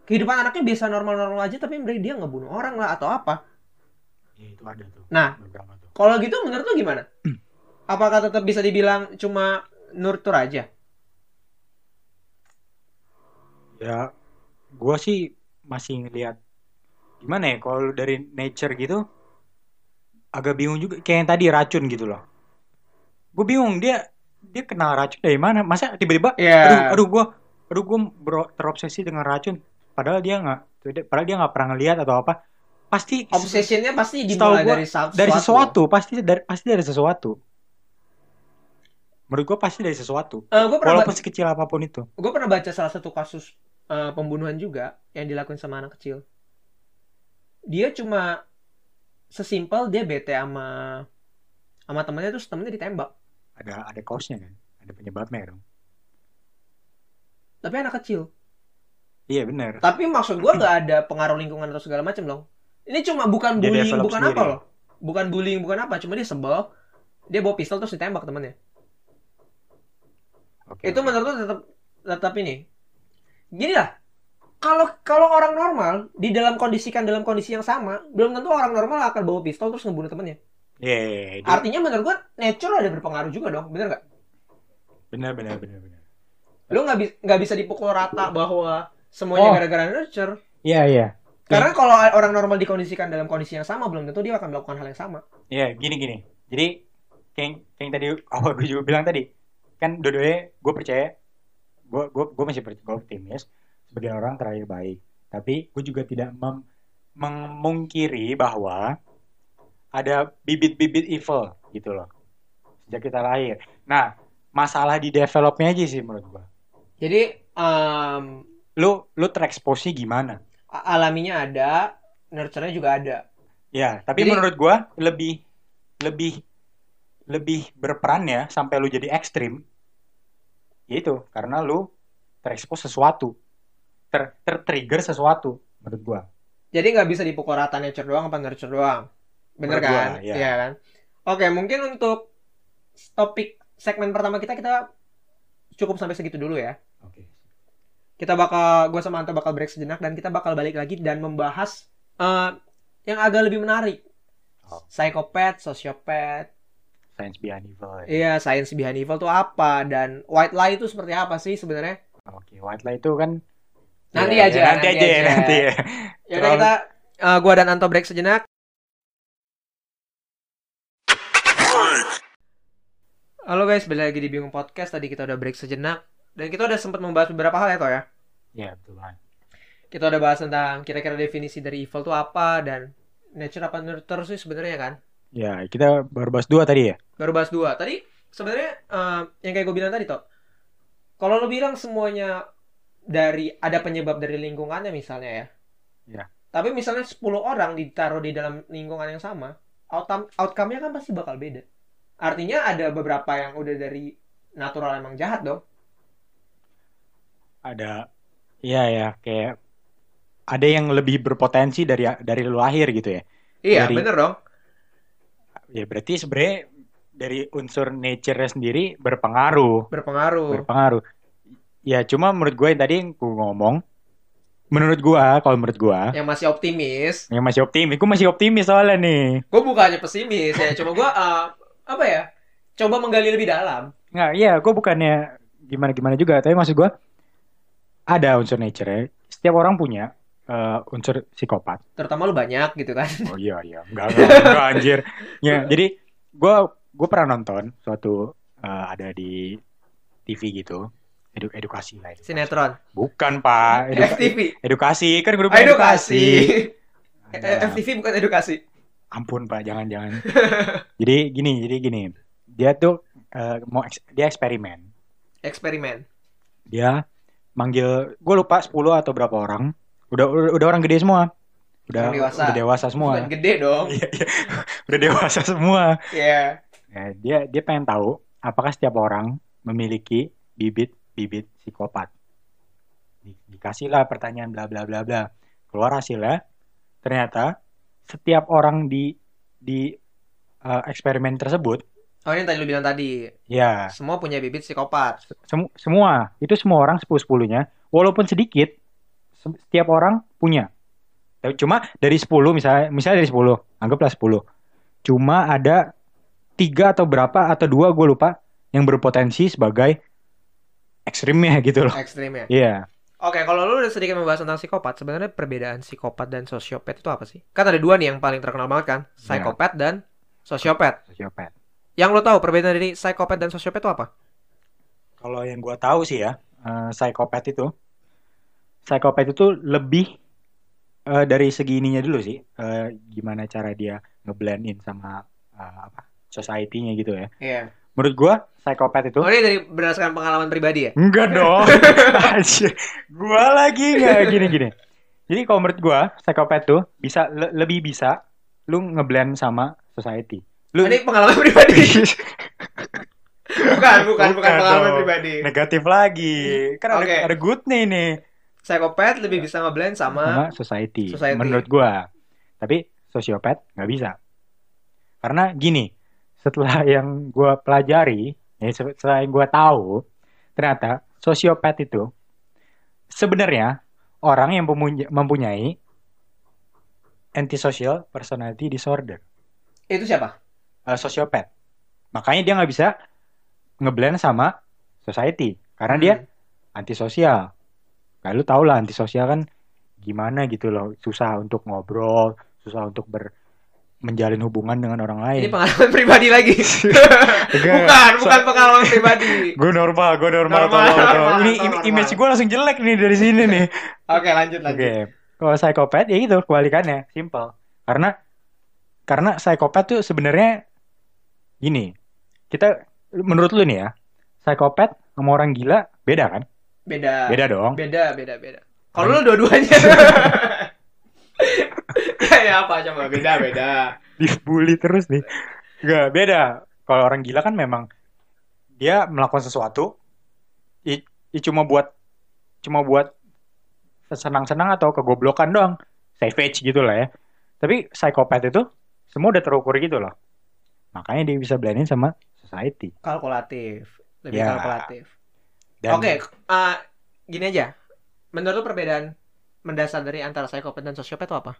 [SPEAKER 1] kehidupan anaknya biasa normal-normal aja tapi dia ngebunuh orang lah atau apa.
[SPEAKER 2] Ya, itu ada tuh
[SPEAKER 1] Nah.
[SPEAKER 2] beberapa tuh
[SPEAKER 1] Kalau gitu menurut lu gimana?
[SPEAKER 2] Hmm.
[SPEAKER 1] Apakah tetap bisa dibilang cuma nurtur aja?
[SPEAKER 2] ya gua sih masih ngelihat gimana ya kalau lu dari nature gitu agak bingung juga kayak yang tadi racun gitu loh gue bingung dia dia kenal racun dari mana masa tiba-tiba aduh aduh gue aduh gue terobsesi dengan racun padahal dia nggak tidak- padahal dia nggak pernah ngelihat atau apa pasti
[SPEAKER 1] obsessionnya pasti
[SPEAKER 2] Setahu
[SPEAKER 1] dimulai
[SPEAKER 2] gua,
[SPEAKER 1] dari sa- sesuatu.
[SPEAKER 2] dari sesuatu pasti dari pasti dari sesuatu menurut gue pasti dari sesuatu
[SPEAKER 1] gue Eh, pernah
[SPEAKER 2] walaupun sekecil apapun itu
[SPEAKER 1] gue pernah baca salah satu kasus eh, pembunuhan juga yang dilakuin sama anak kecil dia cuma sesimpel dia bete sama sama temennya terus temennya ditembak
[SPEAKER 2] ada ada cause-nya kan ada penyebabnya dong
[SPEAKER 1] tapi anak kecil
[SPEAKER 2] iya benar
[SPEAKER 1] tapi maksud gue nggak ada pengaruh lingkungan atau segala macam dong ini cuma bukan
[SPEAKER 2] Dia
[SPEAKER 1] bullying
[SPEAKER 2] develop
[SPEAKER 1] bukan
[SPEAKER 2] sendiri.
[SPEAKER 1] apa loh bukan bullying bukan apa cuma dia sebel dia bawa pistol terus ditembak temennya
[SPEAKER 2] Oke,
[SPEAKER 1] itu
[SPEAKER 2] oke.
[SPEAKER 1] menurut lu tetap tetap ini gini lah kalau kalau orang normal di dalam kondisikan dalam kondisi yang sama belum tentu orang normal akan bawa pistol terus ngebunuh temennya
[SPEAKER 2] Iya, iya, iya, dia-
[SPEAKER 1] artinya menurut gua nature ada berpengaruh juga dong bener nggak
[SPEAKER 2] benar benar benar benar
[SPEAKER 1] lu nggak bi- nggak bisa dipukul rata bahwa semuanya
[SPEAKER 2] Oh.
[SPEAKER 1] gara-gara nature
[SPEAKER 2] iya iya
[SPEAKER 1] karena kalau orang normal dikondisikan dalam kondisi yang sama belum tentu dia akan melakukan hal yang sama
[SPEAKER 2] iya gini gini jadi kayak kayak yang tadi awal gue juga bilang tadi kan dua-duanya gue percaya gue gue gue masih percaya gue optimis sebagai orang terakhir baik tapi gue juga tidak mem- memungkiri bahwa ada bibit-bibit evil gitu loh sejak kita lahir nah masalah di developnya aja sih menurut gue
[SPEAKER 1] Jadi em,
[SPEAKER 2] lu lu tereksposnya gimana
[SPEAKER 1] a- alaminya ada, nurture-nya juga ada.
[SPEAKER 2] Ya, tapi
[SPEAKER 1] Jadi-
[SPEAKER 2] menurut gua lebih lebih lebih berperan ya sampai lu jadi ekstrim. Ya Itu karena lu terekspos sesuatu, ter tertrigger sesuatu menurut gua.
[SPEAKER 1] Jadi nggak bisa dipukul rata nature doang apa nurture doang. Bener
[SPEAKER 2] Menurut
[SPEAKER 1] kan?
[SPEAKER 2] gua, iya.
[SPEAKER 1] Iya kan? Oke, mungkin untuk topik segmen pertama kita kita cukup sampai segitu dulu ya.
[SPEAKER 2] Oke.
[SPEAKER 1] Kita bakal gua sama Anto bakal break sejenak dan kita bakal balik lagi dan membahas eh, yang agak lebih menarik.
[SPEAKER 2] Oh.
[SPEAKER 1] Psikopat, sosiopat,
[SPEAKER 2] Science Beyond Evil. ya.
[SPEAKER 1] iya science behind evil itu apa dan white lie itu seperti apa sih sebenarnya?
[SPEAKER 2] Oke, White Light itu kan
[SPEAKER 1] Nanti
[SPEAKER 2] Ya,
[SPEAKER 1] aja,
[SPEAKER 2] ya, nanti,
[SPEAKER 1] nanti
[SPEAKER 2] aja,
[SPEAKER 1] aja.
[SPEAKER 2] nanti ya.
[SPEAKER 1] Yaudah kita eh, gua dan Anto break sejenak. Halo guys, balik lagi di Bingung Podcast. Tadi kita udah break sejenak dan kita udah sempat membahas beberapa hal ya, Toh ya.
[SPEAKER 2] Ya, betul banget.
[SPEAKER 1] Kita udah bahas tentang kira-kira definisi dari evil itu apa dan nature apa nurture sih sebenarnya kan.
[SPEAKER 2] Ya, kita baru bahas dua tadi ya.
[SPEAKER 1] Baru bahas dua. Tadi sebenarnya eh, yang kayak gue bilang tadi, Toh. Kalau lo bilang semuanya dari ada penyebab dari lingkungannya misalnya ya.
[SPEAKER 2] Iya.
[SPEAKER 1] Tapi misalnya 10 orang ditaruh di dalam lingkungan yang sama, outcome outcome-nya kan pasti bakal beda. Artinya ada beberapa yang udah dari natural emang jahat dong.
[SPEAKER 2] Ada Iya ya, kayak ada yang lebih berpotensi dari dari lu lahir gitu ya. Iya, Dari-
[SPEAKER 1] bener dong.
[SPEAKER 2] Ya berarti sebenarnya dari unsur nature-nya sendiri berpengaruh,
[SPEAKER 1] Berpengaruh.
[SPEAKER 2] berpengaruh. Ya cuma menurut gue yang tadi yang gue ngomong, menurut gue kalau menurut gue
[SPEAKER 1] Yang masih optimis.
[SPEAKER 2] yang masih optimis, gue masih optimis soalnya nih.
[SPEAKER 1] Gue bukannya pesimis ya, cuma gue eh, apa ya? Coba menggali lebih dalam.
[SPEAKER 2] Nggak, iya gue bukannya gimana gimana juga, tapi maksud gue ada unsur nature-nya. Setiap orang punya eh, unsur psikopat.
[SPEAKER 1] Terutama lu banyak gitu kan.
[SPEAKER 2] Oh iya iya, enggak enggak, enggak, anjir. Ya, jadi gua gua pernah nonton suatu eh, ada di TV gitu. Edu, edukasi lah edukasi.
[SPEAKER 1] Sinetron. Eh,
[SPEAKER 2] Bukan, Pak. Eduka-
[SPEAKER 1] FTV.
[SPEAKER 2] edukasi kan grup
[SPEAKER 1] edukasi. Eh,
[SPEAKER 2] Ada.
[SPEAKER 1] FTV bukan edukasi.
[SPEAKER 2] Ampun, Pak, jangan-jangan. jadi gini, jadi gini. Dia tuh eh, mau eks- dia eksperimen.
[SPEAKER 1] Eksperimen.
[SPEAKER 2] Dia manggil gue lupa 10 atau berapa orang. Udah udah, udah orang gede semua. Udah
[SPEAKER 1] Orang dewasa.
[SPEAKER 2] udah dewasa semua.
[SPEAKER 1] Bukan gede dong.
[SPEAKER 2] Iya, iya. udah dewasa semua.
[SPEAKER 1] Iya.
[SPEAKER 2] Nah, dia dia pengen tahu apakah setiap orang memiliki bibit-bibit psikopat. Di- Dikasihlah pertanyaan bla bla bla bla. Keluar hasilnya, ternyata setiap orang di di eh, eksperimen tersebut,
[SPEAKER 1] Oh ini yang tadi lu bilang tadi.
[SPEAKER 2] ya
[SPEAKER 1] Semua punya bibit psikopat.
[SPEAKER 2] semu- semua itu semua orang sepuluh sepuluhnya, walaupun sedikit, se- setiap orang punya. Tapi Cuma dari 10 misalnya, misalnya dari 10, anggaplah 10. Cuma ada tiga atau berapa atau dua gue lupa yang berpotensi sebagai ekstrimnya gitu loh.
[SPEAKER 1] Ekstrimnya.
[SPEAKER 2] Iya.
[SPEAKER 1] Oke, kalau lu udah sedikit membahas tentang psikopat, sebenarnya perbedaan psikopat dan sosiopat itu apa sih? Kan ada dua nih yang paling terkenal banget kan,
[SPEAKER 2] Iya.
[SPEAKER 1] psikopat dan sosiopat.
[SPEAKER 2] Sosiopat.
[SPEAKER 1] Yang lu tahu perbedaan dari psikopat dan sosiopat itu apa?
[SPEAKER 2] Kalau yang gue tahu sih ya, eh, psikopat itu, psikopat itu lebih eh, dari segi ininya dulu sih, eh, gimana cara dia ngeblendin sama eh, apa society-nya gitu ya.
[SPEAKER 1] Iya.
[SPEAKER 2] Menurut gua psikopat itu
[SPEAKER 1] Oh, ini dari berdasarkan pengalaman pribadi ya?
[SPEAKER 2] Enggak dong. Anjir. Gua lagi enggak gini gini. Jadi kalau menurut gua, psikopat tuh bisa le- lebih bisa lu ngeblend sama society. Lu
[SPEAKER 1] Ini
[SPEAKER 2] Iya.
[SPEAKER 1] pengalaman pribadi. bukan, bukan, bukan
[SPEAKER 2] Bukan
[SPEAKER 1] pengalaman
[SPEAKER 2] dong.
[SPEAKER 1] pribadi.
[SPEAKER 2] negatif lagi. Kan ada
[SPEAKER 1] Oke.
[SPEAKER 2] ada goodnya ini
[SPEAKER 1] Psikopat lebih bisa ngeblend sama
[SPEAKER 2] Iya. sama society,
[SPEAKER 1] society.
[SPEAKER 2] menurut gua. Tapi sosiopat nggak bisa. Karena gini, setelah yang gua pelajari, ya, se- setelah yang gua tahu, ternyata sosiopat itu sebenarnya orang yang memuny- mempunyai antisocial personality disorder,
[SPEAKER 1] itu siapa?
[SPEAKER 2] eh, sosiopat. Makanya dia nggak bisa ngeblend sama society karena dia antisosial. Nah, lu tau lah antisosial kan gimana gitu loh, susah untuk ngobrol, susah untuk ber menjalin hubungan dengan orang lain. Iya,
[SPEAKER 1] Ini pengalaman pribadi lagi. bukan, bukan pengalaman pribadi.
[SPEAKER 2] Gue normal, gue
[SPEAKER 1] Normal,
[SPEAKER 2] normal, tolong, tolong.
[SPEAKER 1] normal,
[SPEAKER 2] Ini
[SPEAKER 1] normal.
[SPEAKER 2] im- image gue langsung jelek nih dari sini nih.
[SPEAKER 1] Oke, lanjut
[SPEAKER 2] Oke.
[SPEAKER 1] lanjut.
[SPEAKER 2] Kalau psikopat ya gitu kebalikannya, simple. Karena karena psikopat tuh sebenarnya gini. Kita menurut lu nih ya, psikopat sama orang gila beda kan?
[SPEAKER 1] Beda.
[SPEAKER 2] Beda dong.
[SPEAKER 1] Beda, beda, beda. Kalau lu dua-duanya. Kayak apa coba? Beda, beda.
[SPEAKER 2] dibully terus nih. Gak beda. Kalau orang gila kan memang dia melakukan sesuatu i, i cuma buat cuma buat senang-senang atau kegoblokan doang. Savage gitu lah ya. Tapi psikopat itu semua udah terukur gitu loh. Makanya dia bisa blendin sama society.
[SPEAKER 1] Kalkulatif. Lebih
[SPEAKER 2] Ya.
[SPEAKER 1] kalkulatif.
[SPEAKER 2] Dan
[SPEAKER 1] Oke, eh, gini aja. Menurut lu perbedaan mendasar dari antara psikopat dan sosiopat itu apa?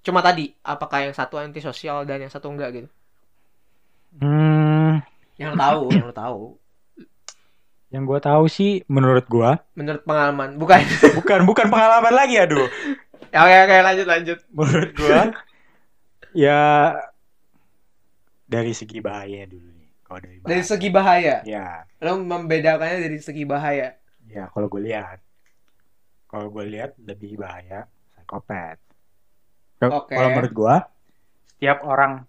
[SPEAKER 1] Cuma tadi, apakah yang satu antisosial dan yang satu enggak gitu?
[SPEAKER 2] hmm,
[SPEAKER 1] Yang lu tahu, yang lu tahu.
[SPEAKER 2] yang gue tahu sih menurut gue
[SPEAKER 1] Menurut pengalaman, bukan.
[SPEAKER 2] bukan bukan pengalaman lagi aduh.
[SPEAKER 1] Ya, Oke, oke, lanjut, lanjut.
[SPEAKER 2] menurut gua ya dari segi bahayanya dulu nih kalau dari bahaya
[SPEAKER 1] Dari segi bahaya,
[SPEAKER 2] ya
[SPEAKER 1] lu membedakannya dari segi bahaya.
[SPEAKER 2] ya kalau gue lihat kalau gue lihat lebih bahaya psikopat Kalau-
[SPEAKER 1] Oke.
[SPEAKER 2] kalau menurut gua setiap orang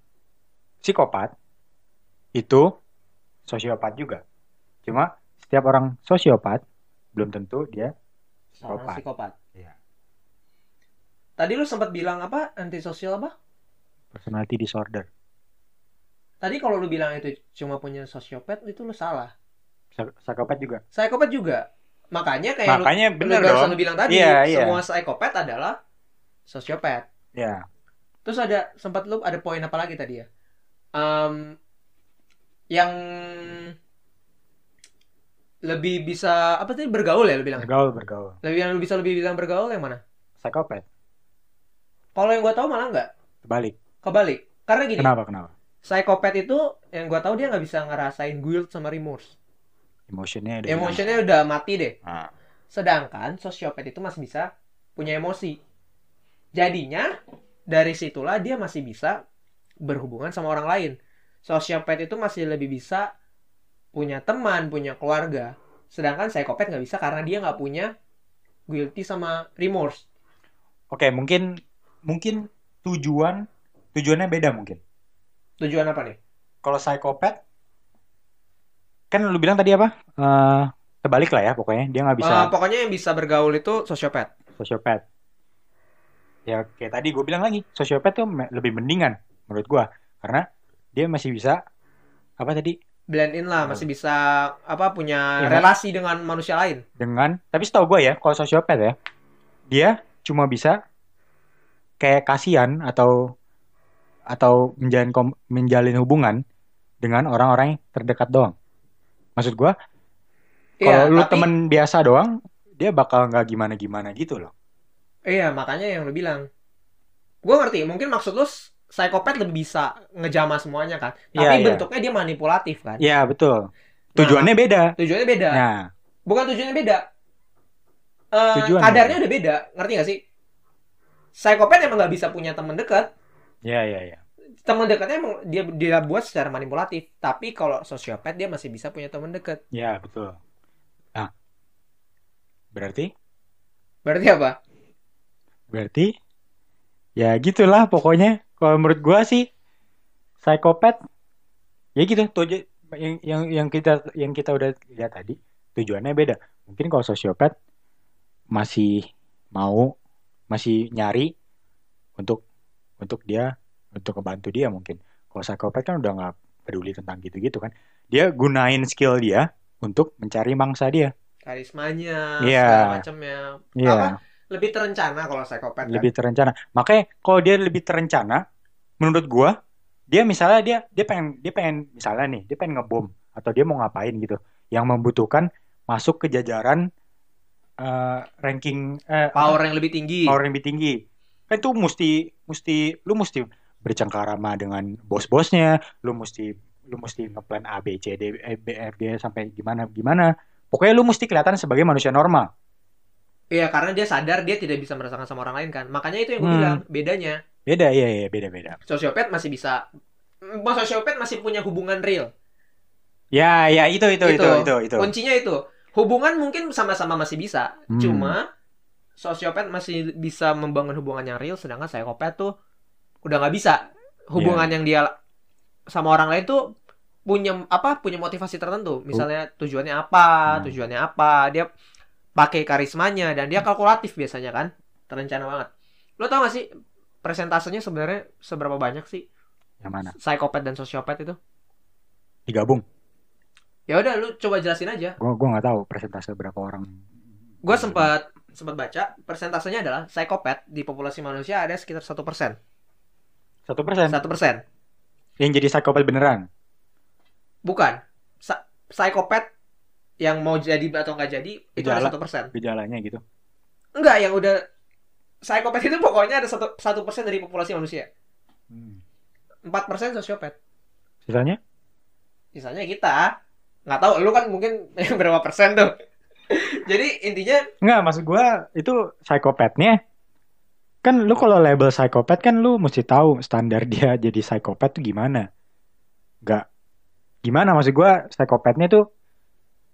[SPEAKER 2] psikopat itu sosiopat juga cuma setiap orang sosiopat belum tentu dia
[SPEAKER 1] Seorang
[SPEAKER 2] Psikopat.
[SPEAKER 1] psikopat.
[SPEAKER 2] Iya.
[SPEAKER 1] Tadi lu sempat bilang apa? Antisosial apa?
[SPEAKER 2] personality disorder
[SPEAKER 1] Tadi kalau lu bilang itu cuma punya sosiopat, itu lu salah.
[SPEAKER 2] Psik- psikopat juga
[SPEAKER 1] Psikopat juga. Makanya kayak Eh, lu
[SPEAKER 2] makanya bener
[SPEAKER 1] Bener barusan
[SPEAKER 2] dong
[SPEAKER 1] lu bilang tadi,
[SPEAKER 2] Iya, iya.
[SPEAKER 1] semua psikopat adalah sosiopat.
[SPEAKER 2] ya
[SPEAKER 1] Terus ada sempat lu ada poin apa lagi tadi ya? Em, yang lebih bisa apa tadi bergaul ya lu bilang?
[SPEAKER 2] bergaul bergaul
[SPEAKER 1] Lebih yang lu bisa lebih bilang bergaul yang mana?
[SPEAKER 2] psikopat
[SPEAKER 1] Kalau yang gua tahu malah nggak
[SPEAKER 2] balik
[SPEAKER 1] kebalik. Karena gini,
[SPEAKER 2] Kenapa kenapa?
[SPEAKER 1] psikopat itu yang gua tahu dia nggak bisa ngerasain guilt sama remorse.
[SPEAKER 2] Emotionnya ada.
[SPEAKER 1] Emosinya udah mati deh.
[SPEAKER 2] Iya. Ah.
[SPEAKER 1] Sedangkan sosiopat itu masih bisa punya emosi. Jadinya dari situlah dia masih bisa berhubungan sama orang lain. Sosiopat itu masih lebih bisa punya teman, punya keluarga. Sedangkan psikopat nggak bisa karena dia nggak punya guilty sama remorse.
[SPEAKER 2] Oke mungkin mungkin tujuan tujuannya beda mungkin.
[SPEAKER 1] Tujuan apa nih?
[SPEAKER 2] Kalau psikopat kan lu bilang tadi apa? Eh terbalik lah ya pokoknya dia nggak bisa
[SPEAKER 1] Eh, pokoknya yang bisa bergaul itu sosiopat.
[SPEAKER 2] sosiopat. Ya kayak tadi gue bilang lagi sosiopat tuh me- lebih mendingan menurut gua karena dia masih bisa apa tadi
[SPEAKER 1] Blend in lah, masih bisa apa punya
[SPEAKER 2] Hmm. Iya.
[SPEAKER 1] relasi dengan manusia lain.
[SPEAKER 2] dengan tapi setahu gue ya kalau sosiopat ya dia cuma bisa kayak kasihan atau atau menjalin kom- menjalin hubungan dengan orang-orang yang terdekat doang maksud gue kalau
[SPEAKER 1] Iya,
[SPEAKER 2] lu
[SPEAKER 1] tapi-
[SPEAKER 2] temen biasa doang dia bakal nggak gimana-gimana gitu loh
[SPEAKER 1] Iya, makanya yang lu bilang. Gue ngerti, mungkin maksud lu psikopat lebih bisa ngejama semuanya kan. Tapi
[SPEAKER 2] Iya, iya.
[SPEAKER 1] bentuknya dia manipulatif kan.
[SPEAKER 2] ya betul tujuannya beda
[SPEAKER 1] Tujuannya beda.
[SPEAKER 2] nah
[SPEAKER 1] Bukan tujuannya beda. Eh,
[SPEAKER 2] Tujuan ya?
[SPEAKER 1] kadarnya udah beda, ngerti gak sih? Psikopat emang nggak bisa punya teman dekat.
[SPEAKER 2] ya ya ya
[SPEAKER 1] Teman dekatnya emang dia dia buat secara manipulatif. Tapi kalau sosiopat dia masih bisa punya teman dekat.
[SPEAKER 2] ya betul nah berarti
[SPEAKER 1] Berarti apa?
[SPEAKER 2] berarti ya gitulah pokoknya kalau menurut gua sih psikopat ya gitu tuju yang yang yang kita yang kita udah lihat tadi tujuannya beda mungkin kalau sosiopat masih mau masih nyari untuk untuk dia untuk ngebantu dia mungkin kalau psikopat kan udah nggak peduli tentang gitu-gitu kan dia gunain skill dia untuk mencari mangsa dia
[SPEAKER 1] karismanya
[SPEAKER 2] Iya.
[SPEAKER 1] segala macamnya
[SPEAKER 2] Iya.
[SPEAKER 1] Apa? lebih terencana kalau psikopat kan?
[SPEAKER 2] lebih terencana. Makanya kalau dia lebih terencana, menurut gua, dia misalnya dia dia pengen dia pengen misalnya nih, dia pengen ngebom atau dia mau ngapain gitu, yang membutuhkan masuk ke jajaran eh, ranking eh,
[SPEAKER 1] kan. power yang lebih tinggi
[SPEAKER 2] power yang lebih tinggi. Kan itu mesti mesti lu mesti bercengkarama dengan bos-bosnya, lu mesti lu mesti ngeplan A B C D E, B F G sampai gimana gimana. Pokoknya lu mesti kelihatan sebagai manusia normal.
[SPEAKER 1] Iya karena dia sadar dia tidak bisa merasakan sama orang lain kan makanya itu yang gue
[SPEAKER 2] Hmm.
[SPEAKER 1] bilang bedanya
[SPEAKER 2] Beda ya ya beda-beda.
[SPEAKER 1] sosiopat masih bisa Mm, sosiopat masih punya hubungan real
[SPEAKER 2] Ya ya itu itu itu
[SPEAKER 1] Itu.
[SPEAKER 2] itu itu.
[SPEAKER 1] kuncinya itu hubungan mungkin sama-sama masih bisa
[SPEAKER 2] Hmm.
[SPEAKER 1] cuma sosiopat masih bisa membangun hubungan yang real sedangkan psikopat tuh udah nggak bisa
[SPEAKER 2] Iya.
[SPEAKER 1] hubungan yang dia sama orang lain tuh punya apa punya motivasi tertentu misalnya tujuannya apa
[SPEAKER 2] Hmm.
[SPEAKER 1] tujuannya apa dia pakai karismanya dan dia kalkulatif biasanya kan terencana banget lo tau gak sih presentasenya sebenarnya seberapa banyak sih
[SPEAKER 2] Yang mana?
[SPEAKER 1] psikopat dan sosiopat itu
[SPEAKER 2] Digabung.
[SPEAKER 1] ya udah lu coba jelasin aja
[SPEAKER 2] Gua gua nggak tahu persentase berapa orang.
[SPEAKER 1] gue
[SPEAKER 2] Iya.
[SPEAKER 1] sempat sempat baca persentasenya adalah psikopat di populasi manusia ada sekitar satu persen
[SPEAKER 2] Satu persen.
[SPEAKER 1] satu persen
[SPEAKER 2] Yang jadi psikopat beneran.
[SPEAKER 1] bukan Sa- psikopat yang mau jadi atau nggak jadi itu ada
[SPEAKER 2] Gejala.
[SPEAKER 1] satu persen
[SPEAKER 2] Gejalanya gitu.
[SPEAKER 1] enggak yang udah psikopat itu pokoknya ada satu satu persen dari populasi manusia empat persen sosiopat
[SPEAKER 2] Hmm. Sisanya?
[SPEAKER 1] misalnya kita nggak tahu lu kan mungkin berapa persen tuh jadi intinya
[SPEAKER 2] Enggak, maksud gua itu psikopatnya kan lu kalau label psikopat kan lu mesti tahu standar dia jadi psikopat tuh gimana. Enggak. Gimana maksud gua psikopatnya tuh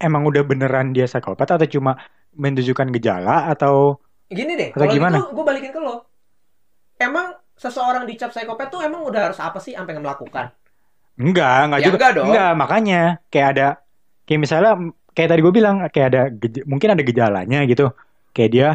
[SPEAKER 2] emang udah beneran dia psikopat atau cuma menunjukkan gejala atau
[SPEAKER 1] gini deh
[SPEAKER 2] Atau
[SPEAKER 1] kalau
[SPEAKER 2] gimana?
[SPEAKER 1] gitu gue balikin ke lo emang seseorang dicap psikopat tuh emang udah harus apa sih sampai melakukan
[SPEAKER 2] Enggak, enggak
[SPEAKER 1] Ya,
[SPEAKER 2] juga.
[SPEAKER 1] enggak dong.
[SPEAKER 2] makanya kayak ada kayak misalnya m- kayak tadi gue bilang kayak ada gej- mungkin ada gejalanya gitu. Kayak dia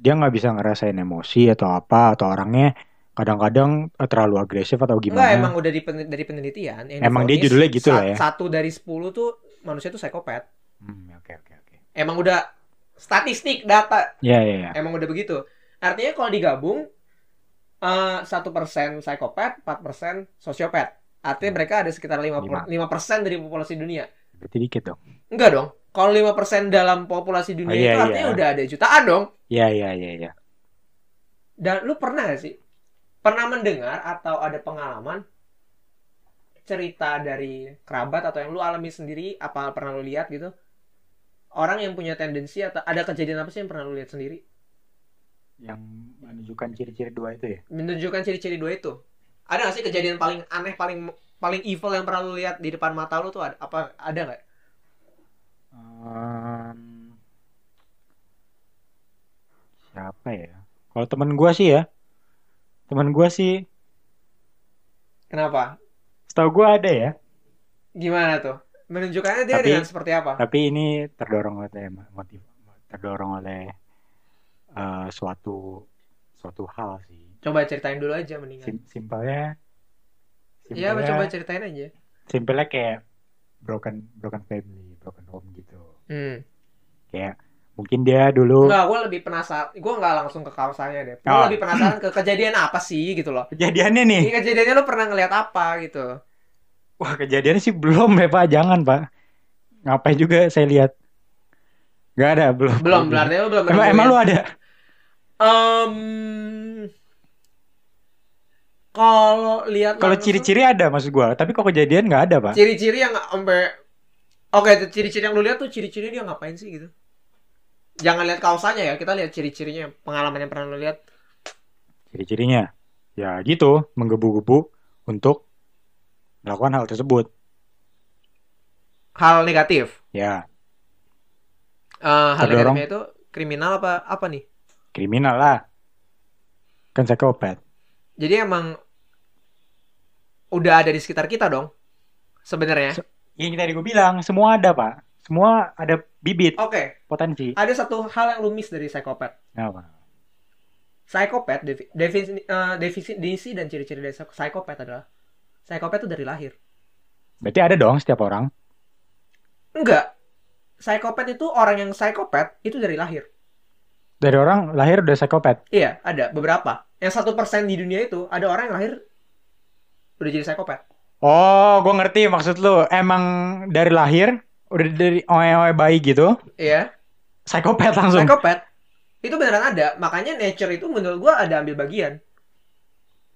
[SPEAKER 2] dia nggak bisa ngerasain emosi atau apa atau orangnya kadang-kadang eh, terlalu agresif atau
[SPEAKER 1] Enggak,
[SPEAKER 2] gimana.
[SPEAKER 1] emang udah di pen- dari penelitian. yang
[SPEAKER 2] Emang dia
[SPEAKER 1] divonis,
[SPEAKER 2] judulnya gitu lah ya.
[SPEAKER 1] Satu dari sepuluh tuh manusia tuh psikopat.
[SPEAKER 2] Hmm, oke oke oke.
[SPEAKER 1] Emang udah statistik data,
[SPEAKER 2] Ya ya ya.
[SPEAKER 1] emang udah begitu. Artinya kalau digabung eh, satu persen psikopat, 4% persen sosiopat. Artinya
[SPEAKER 2] Hmm.
[SPEAKER 1] mereka ada sekitar 5 persen dari populasi dunia.
[SPEAKER 2] Berarti dikit dong.
[SPEAKER 1] Enggak dong. Kalau 5% dalam populasi dunia
[SPEAKER 2] Oh, iya,
[SPEAKER 1] itu artinya
[SPEAKER 2] iya.
[SPEAKER 1] udah ada jutaan dong.
[SPEAKER 2] Ya ya ya ya.
[SPEAKER 1] Dan lu pernah gak sih? Pernah mendengar atau ada pengalaman cerita dari kerabat atau yang lu alami sendiri apa pernah lu lihat gitu? Orang yang punya tendensi atau ada kejadian apa sih yang pernah lu lihat sendiri?
[SPEAKER 2] Yang menunjukkan ciri-ciri dua itu ya.
[SPEAKER 1] Menunjukkan ciri-ciri dua itu. Ada gak sih kejadian paling aneh, paling paling evil yang pernah lu lihat di depan mata lu tuh ada, apa ada nggak?
[SPEAKER 2] siapa ya? Kalau teman gua sih ya. Teman gua sih
[SPEAKER 1] Kenapa?
[SPEAKER 2] setahu gua ada ya.
[SPEAKER 1] Gimana tuh? Menunjukkannya dia
[SPEAKER 2] Tapi-
[SPEAKER 1] dengan seperti apa?
[SPEAKER 2] tapi ini terdorong oleh motif terdorong oleh eh, suatu suatu hal sih
[SPEAKER 1] Coba ceritain dulu aja mendingan.
[SPEAKER 2] Sim- simpelnya
[SPEAKER 1] Iya, coba ceritain aja.
[SPEAKER 2] simpelnya kayak broken broken family broken home gitu
[SPEAKER 1] Hmm.
[SPEAKER 2] kayak mungkin dia dulu
[SPEAKER 1] Enggak, gue lebih penasaran. Gue nggak langsung ke kawasannya deh. Gue
[SPEAKER 2] Oh.
[SPEAKER 1] lebih penasaran ke kejadian apa sih gitu loh.
[SPEAKER 2] kejadiannya nih
[SPEAKER 1] Ini kejadiannya lo pernah ngeliat apa gitu?
[SPEAKER 2] wah kejadiannya sih belum ya pak jangan pak ngapain juga saya lihat nggak ada belum
[SPEAKER 1] Belum, berarti lo belum. ya.
[SPEAKER 2] emang emang lu ada
[SPEAKER 1] Em, kalau lihat
[SPEAKER 2] kalau
[SPEAKER 1] langsung-
[SPEAKER 2] ciri-ciri ada maksud gua tapi kok kejadian nggak ada pak
[SPEAKER 1] ciri-ciri yang sampai Oke, itu ciri-ciri yang lu lihat tuh ciri-ciri dia ngapain sih gitu? Jangan lihat kaosanya ya, kita lihat ciri-cirinya, pengalaman yang pernah lu lihat.
[SPEAKER 2] ciri-cirinya ya gitu menggebu-gebu untuk melakukan hal tersebut
[SPEAKER 1] Hal negatif.
[SPEAKER 2] ya
[SPEAKER 1] Eh, hal
[SPEAKER 2] Terdorong.
[SPEAKER 1] negatifnya itu kriminal apa apa nih?
[SPEAKER 2] kriminal lah kan psikopat
[SPEAKER 1] Jadi emang udah ada di sekitar kita dong sebenarnya.
[SPEAKER 2] Yang tadi gue bilang, semua ada pak. Semua ada bibit
[SPEAKER 1] Oke,
[SPEAKER 2] potensi. Ya,
[SPEAKER 1] ada satu hal yang lu miss dari psikopat.
[SPEAKER 2] Kenapa?
[SPEAKER 1] Psikopat defi- defisi, eh, definisi dan ciri-ciri dari psikopat adalah psikopat itu dari lahir.
[SPEAKER 2] Berarti ada dong setiap orang.
[SPEAKER 1] Enggak. Psikopat itu orang yang psikopat itu dari lahir.
[SPEAKER 2] Dari orang lahir udah psikopat.
[SPEAKER 1] Iya, ada beberapa. Yang satu persen di dunia itu ada orang yang lahir udah jadi psikopat.
[SPEAKER 2] Oh, gue ngerti maksud lu. Emang dari lahir udah dari oe-oe bayi gitu,
[SPEAKER 1] Iya,
[SPEAKER 2] psikopat langsung.
[SPEAKER 1] psikopat itu beneran ada. Makanya nature itu menurut gua ada ambil bagian.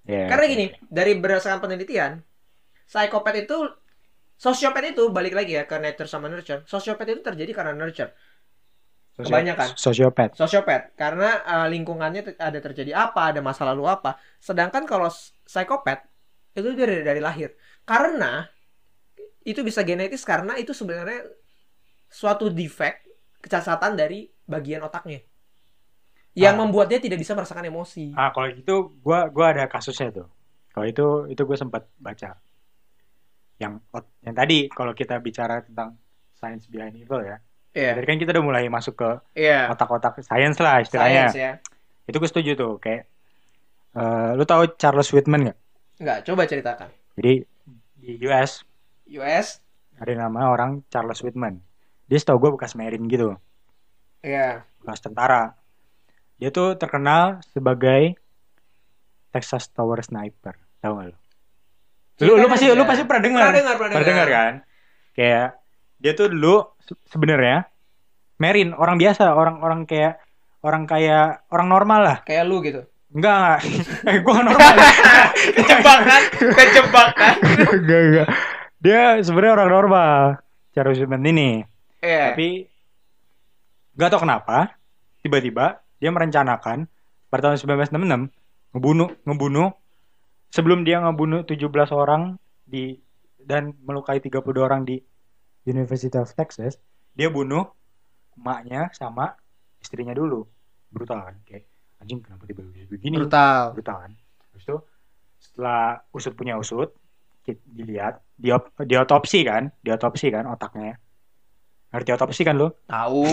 [SPEAKER 2] Iya.
[SPEAKER 1] Karena gini, dari berdasarkan penelitian, psikopat itu sosiopat itu balik lagi ya ke nature sama nurture. Sosiopat itu terjadi karena nurture.
[SPEAKER 2] Sosio-
[SPEAKER 1] kebanyakan.
[SPEAKER 2] Sosiopat.
[SPEAKER 1] Sosiopat karena eh, lingkungannya te- ada terjadi apa, ada masa lalu apa. Sedangkan kalau s- psikopat itu dari dari lahir. Karena itu bisa genetis karena itu sebenarnya suatu defect kecacatan dari bagian otaknya yang
[SPEAKER 2] Ah.
[SPEAKER 1] membuat dia tidak bisa merasakan emosi.
[SPEAKER 2] Ah, kalau gitu gua gua ada kasusnya tuh. Kalau itu itu gue sempat baca. Yang ot- yang tadi kalau kita bicara tentang science behind evil ya.
[SPEAKER 1] Iya,
[SPEAKER 2] Tadi kan kita udah mulai masuk ke
[SPEAKER 1] iya.
[SPEAKER 2] otak-otak science lah
[SPEAKER 1] Science
[SPEAKER 2] istilahnya.
[SPEAKER 1] ya.
[SPEAKER 2] Itu gue setuju tuh kayak eh, lu tahu Charles Whitman nggak?
[SPEAKER 1] Enggak, coba ceritakan.
[SPEAKER 2] Jadi di US
[SPEAKER 1] US,
[SPEAKER 2] ada nama orang Charles Whitman. Dia setahu gue bekas marine gitu,
[SPEAKER 1] iya.
[SPEAKER 2] bekas tentara. Dia tuh terkenal sebagai Texas Tower Sniper, tahu nggak lu? Lu, lu
[SPEAKER 1] Ceritain
[SPEAKER 2] pasti
[SPEAKER 1] aja.
[SPEAKER 2] lu pasti pernah dengar.
[SPEAKER 1] Iya, kan, Pernah dengar, pernah
[SPEAKER 2] Pernah dengar kan? Kayak dia tuh dulu se- sebenarnya marine, orang biasa, orang-orang kayak orang kayak orang normal lah.
[SPEAKER 1] Kayak lu gitu.
[SPEAKER 2] Enggak, enggak. eh, gua nggak normal.
[SPEAKER 1] Kejebakan,
[SPEAKER 2] kan?
[SPEAKER 1] kejebakan.
[SPEAKER 2] enggak, enggak. Dia sebenarnya orang normal. Charles Whitman ini.
[SPEAKER 1] Iya.
[SPEAKER 2] Tapi nggak tahu kenapa tiba-tiba dia merencanakan pada tahun 1966 ngebunuh ngebunuh sebelum dia ngebunuh 17 orang di dan melukai 32 orang di University of Texas, dia bunuh emaknya sama istrinya dulu. Brutal kan? Kayak anjing kenapa tiba-tiba begini?
[SPEAKER 1] Brutal.
[SPEAKER 2] brutal kan habis itu setelah usut punya usut di- dilihat diop, diotopsi kan diotopsi kan otaknya ngerti otopsi kan lo
[SPEAKER 1] Tahu.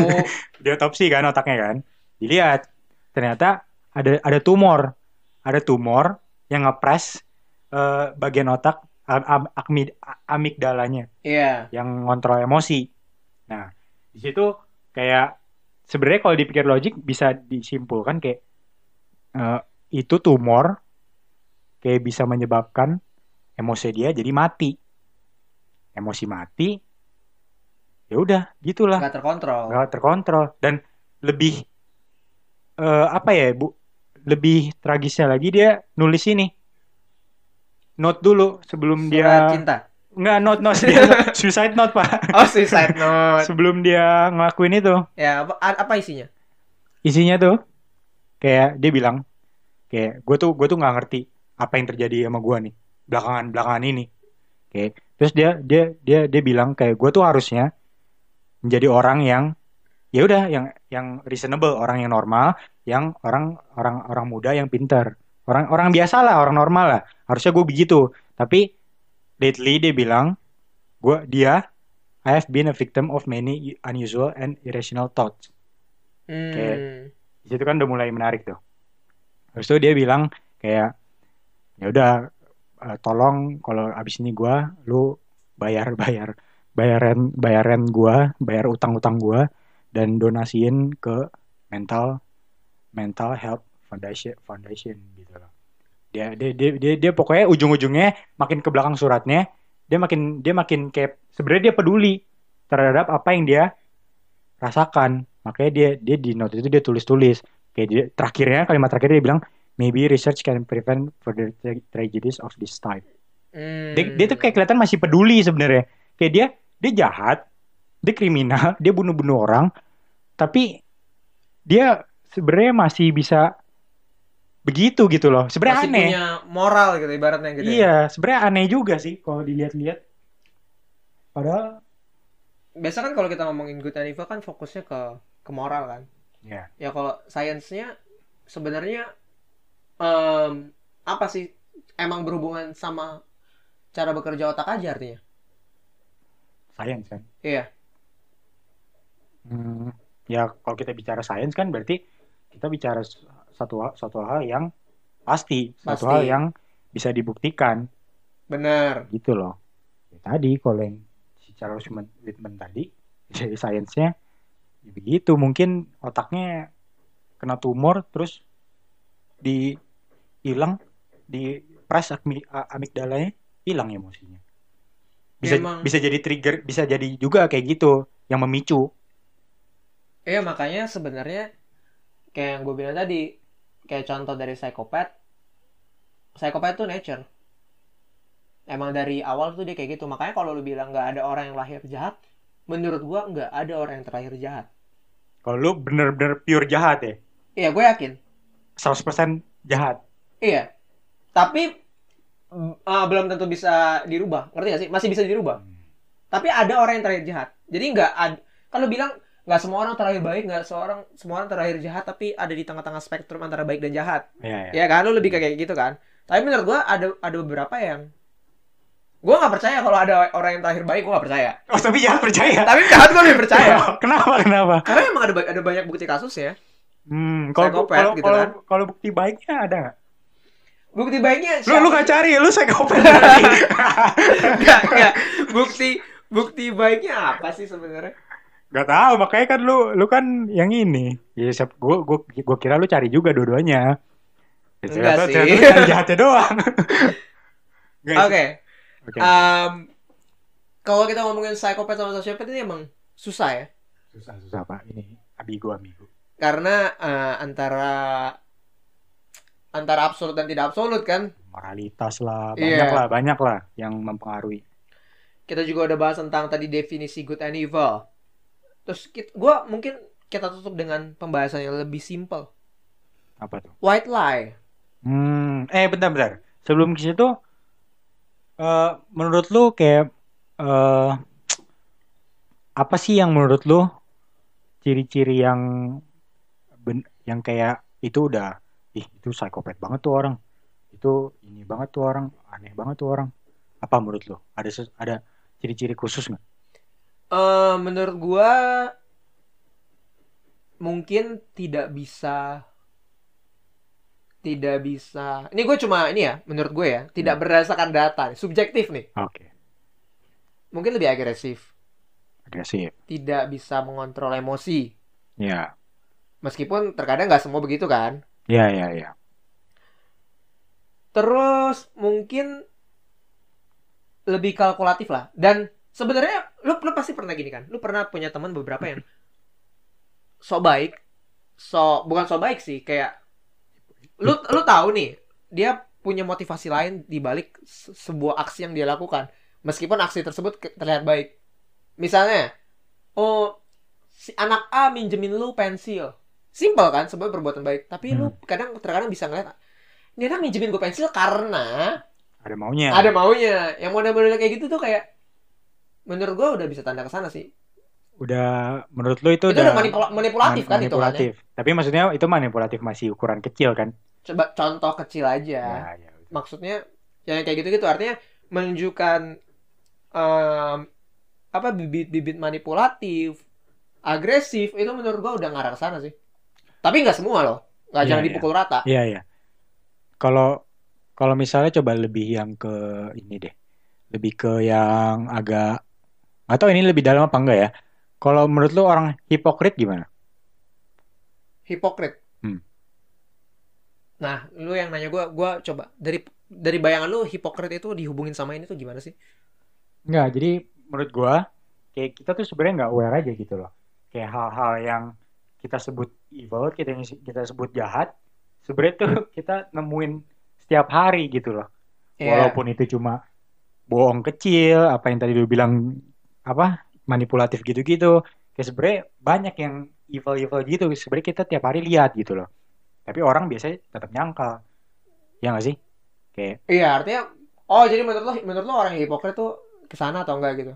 [SPEAKER 2] diotopsi kan otaknya kan dilihat ternyata ada ada tumor ada tumor yang ngepres eh, bagian otak am- am- akmi- a- amigdalanya
[SPEAKER 1] Iya.
[SPEAKER 2] yang ngontrol emosi. Nah, di situ kayak sebenarnya kalau dipikir logik bisa disimpulkan kayak eh, itu tumor kayak bisa menyebabkan emosi dia jadi mati. Emosi mati, ya udah gitulah
[SPEAKER 1] Nggak terkontrol.
[SPEAKER 2] nggak terkontrol dan lebih eh, apa ya bu lebih tragisnya lagi dia nulis ini note dulu sebelum dia
[SPEAKER 1] Surat cinta.
[SPEAKER 2] Nggak, note, note. Dia- suicide note, Pak.
[SPEAKER 1] Oh, suicide note.
[SPEAKER 2] Sebelum dia ngelakuin itu.
[SPEAKER 1] ya, apa, a- apa isinya?
[SPEAKER 2] Isinya tuh, kayak dia bilang, kayak, gue tuh, gue tuh nggak ngerti apa yang terjadi sama gue nih. Belakangan-belakangan ini. Kayak, terus dia, dia, dia, dia bilang kayak, gue tuh harusnya menjadi orang yang, ya udah, yang, yang reasonable, orang yang normal, yang orang, orang, orang muda yang pintar. Orang, orang biasa lah, orang normal lah. Harusnya gue begitu. Tapi, lately dia bilang, gue, dia, I have been a victim of many unusual and irrational thoughts
[SPEAKER 1] Hmm.
[SPEAKER 2] Kayak di situ kan udah mulai menarik tuh. Terus tuh dia bilang kayak ya udah eh, tolong kalau abis ini gua lu bayar bayar bayaran bayaran gua, bayar utang-utang gua dan donasiin ke mental mental health foundation foundation gitu loh. Dia dia dia dia, dia pokoknya ujung-ujungnya makin ke belakang suratnya dia makin dia makin kayak sebenarnya dia peduli terhadap apa yang dia rasakan makanya dia dia di note itu dia tulis tulis kayak dia, terakhirnya kalimat terakhir dia bilang maybe research can prevent further tra- tragedies of this type
[SPEAKER 1] Hmm.
[SPEAKER 2] dia, dia tuh kayak kelihatan masih peduli sebenarnya kayak dia dia jahat dia kriminal dia bunuh bunuh orang tapi dia sebenarnya masih bisa begitu gitu loh sebenarnya
[SPEAKER 1] Masih
[SPEAKER 2] aneh
[SPEAKER 1] punya moral gitu ibaratnya gitu.
[SPEAKER 2] iya sebenarnya aneh juga sih kalau dilihat-lihat padahal
[SPEAKER 1] Biasa kan kalau kita ngomongin good and evil kan fokusnya ke ke moral kan.
[SPEAKER 2] Iya.
[SPEAKER 1] Ya kalau sainsnya sebenarnya em, apa sih emang berhubungan sama cara bekerja otak aja artinya
[SPEAKER 2] Sains kan?
[SPEAKER 1] Iya.
[SPEAKER 2] Hmm, ya kalau kita bicara sains kan berarti kita bicara s- satu hal, satu hal yang pasti, satu
[SPEAKER 1] Pasti.
[SPEAKER 2] hal yang bisa dibuktikan
[SPEAKER 1] benar
[SPEAKER 2] gitu loh. Ya, tadi kalau yang si Charles Whit- Whitman tadi dari sainsnya ya begitu mungkin otaknya kena tumor terus di hilang di press amig- a- amigdalanya hilang emosinya bisa
[SPEAKER 1] Emang.
[SPEAKER 2] bisa jadi trigger bisa jadi juga kayak gitu yang memicu
[SPEAKER 1] Iya makanya sebenarnya kayak yang gue bilang tadi kayak contoh dari psikopat psikopat tuh nature emang dari awal tuh dia kayak gitu makanya kalau lu bilang nggak ada orang yang lahir jahat menurut gua nggak ada orang yang terlahir jahat
[SPEAKER 2] kalau lu bener-bener pure jahat ya
[SPEAKER 1] iya gue yakin
[SPEAKER 2] 100% jahat
[SPEAKER 1] iya tapi mm, ah, belum tentu bisa dirubah ngerti gak sih masih bisa dirubah tapi ada orang yang terakhir jahat jadi nggak ad- kalau bilang nggak semua orang terakhir baik nggak seorang semua orang terakhir jahat tapi ada di tengah-tengah spektrum antara baik dan jahat
[SPEAKER 2] ya,
[SPEAKER 1] ya
[SPEAKER 2] ya.
[SPEAKER 1] kan lu lebih kayak gitu kan tapi menurut gua ada ada beberapa yang gua nggak percaya kalau ada orang yang terakhir baik gua nggak percaya
[SPEAKER 2] oh tapi jangan percaya
[SPEAKER 1] tapi jahat gua lebih percaya
[SPEAKER 2] kenapa kenapa
[SPEAKER 1] karena emang ada ba- ada banyak bukti kasus ya
[SPEAKER 2] Hmm, kalau
[SPEAKER 1] Psikopat
[SPEAKER 2] kalau
[SPEAKER 1] gitu
[SPEAKER 2] kalau
[SPEAKER 1] kan.
[SPEAKER 2] kalau bukti baiknya ada nggak?
[SPEAKER 1] bukti baiknya
[SPEAKER 2] Lu lu
[SPEAKER 1] siapa-
[SPEAKER 2] gak cari, lu psikopat berarti.
[SPEAKER 1] Nggak, nggak. bukti bukti baiknya apa sih sebenarnya
[SPEAKER 2] gak tahu, makanya kan lu lu kan yang ini. Ya siap, gua, gua, gua kira lu cari juga dua-duanya. Ya,
[SPEAKER 1] Enggak
[SPEAKER 2] ternyata-
[SPEAKER 1] sih.
[SPEAKER 2] ternyata lu cari jahatnya doang. Nggak
[SPEAKER 1] oke ah.
[SPEAKER 2] sih. Oke.
[SPEAKER 1] em, kalau kita ngomongin psikopat sama sosiopat ini emang susah ya
[SPEAKER 2] Susah susah pak ini abigo abigo.
[SPEAKER 1] karena eh, antara antara absolut dan tidak absolut kan
[SPEAKER 2] Moralitas lah, banyak
[SPEAKER 1] Iya.
[SPEAKER 2] lah, banyak lah yang mempengaruhi.
[SPEAKER 1] kita juga udah bahas tentang tadi definisi good and evil. Terus kita, gua mungkin kita tutup dengan pembahasan yang lebih simple.
[SPEAKER 2] Apa tuh?
[SPEAKER 1] White lie.
[SPEAKER 2] Hmm, eh bentar-bentar. Sebelum ke situ, eh, menurut lu kayak eh, apa sih yang menurut lu ciri-ciri yang ben- yang kayak itu udah, ih itu psikopat banget tuh orang, itu ini banget tuh orang, aneh banget tuh orang. Apa menurut lu? Ada ses- ada ciri-ciri khusus nggak?
[SPEAKER 1] Eh, menurut gua mungkin tidak bisa tidak bisa. Ini gue cuma ini ya, menurut gue ya, tidak berdasarkan data, subjektif nih.
[SPEAKER 2] Oke,
[SPEAKER 1] Mungkin lebih agresif,
[SPEAKER 2] agresif.
[SPEAKER 1] tidak bisa mengontrol emosi.
[SPEAKER 2] Ya,
[SPEAKER 1] Meskipun terkadang nggak semua begitu kan.
[SPEAKER 2] ya, ya, ya.
[SPEAKER 1] Terus mungkin lebih kalkulatif lah. Dan sebenarnya lu, lu pasti pernah gini kan? Lu pernah punya teman beberapa yang sok baik, sok bukan sok baik sih, kayak lu lu tahu nih, dia punya motivasi lain di balik se- sebuah aksi yang dia lakukan, meskipun aksi tersebut ke- terlihat baik. Misalnya, oh si anak A minjemin lu pensil. Simpel kan sebuah perbuatan baik, tapi lu kadang terkadang bisa ngeliat ini anak minjemin gue pensil karena
[SPEAKER 2] Ada maunya.
[SPEAKER 1] ada maunya. Yang model-model kayak gitu tuh kayak menurut gue udah bisa tanda ke sana sih.
[SPEAKER 2] Udah, menurut lu itu
[SPEAKER 1] Itu, udah
[SPEAKER 2] udah
[SPEAKER 1] manipula- manipulatif
[SPEAKER 2] Man-
[SPEAKER 1] kan itu
[SPEAKER 2] manipulatif. Tapi maksudnya itu manipulatif masih ukuran kecil kan?
[SPEAKER 1] Coba contoh kecil aja.
[SPEAKER 2] ya.
[SPEAKER 1] Maksudnya yang kayak gitu-gitu artinya menunjukkan em, apa bibit-bibit manipulatif, agresif itu menurut gue udah ngarah ke sana sih. Tapi nggak semua loh. Nggak
[SPEAKER 2] Iya,
[SPEAKER 1] jangan
[SPEAKER 2] iya.
[SPEAKER 1] dipukul rata.
[SPEAKER 2] Iya, iya. Kalau kalau misalnya coba lebih yang ke ini deh. Lebih ke yang agak atau ini lebih dalam apa enggak ya? Kalau menurut lu orang hipokrit gimana?
[SPEAKER 1] Hipokrit.
[SPEAKER 2] Hmm.
[SPEAKER 1] Nah, lu yang nanya gue, gue coba dari dari bayangan lu hipokrit itu dihubungin sama ini tuh gimana sih?
[SPEAKER 2] Enggak, jadi menurut gua kayak kita tuh sebenarnya nggak aware aja gitu loh. Kayak hal-hal yang kita sebut evil, kita kita sebut jahat, sebenarnya tuh kita nemuin setiap hari gitu loh. walaupun itu cuma bohong kecil apa yang tadi lu bilang apa manipulatif gitu-gitu kayak sebenarnya banyak yang evil-evil gitu sebenarnya kita tiap hari lihat gitu loh tapi orang biasanya tetap nyangkal ya nggak sih kayak
[SPEAKER 1] Iya, artinya oh jadi menurut lo menurut lo orang yang hipokrit tuh kesana atau enggak gitu?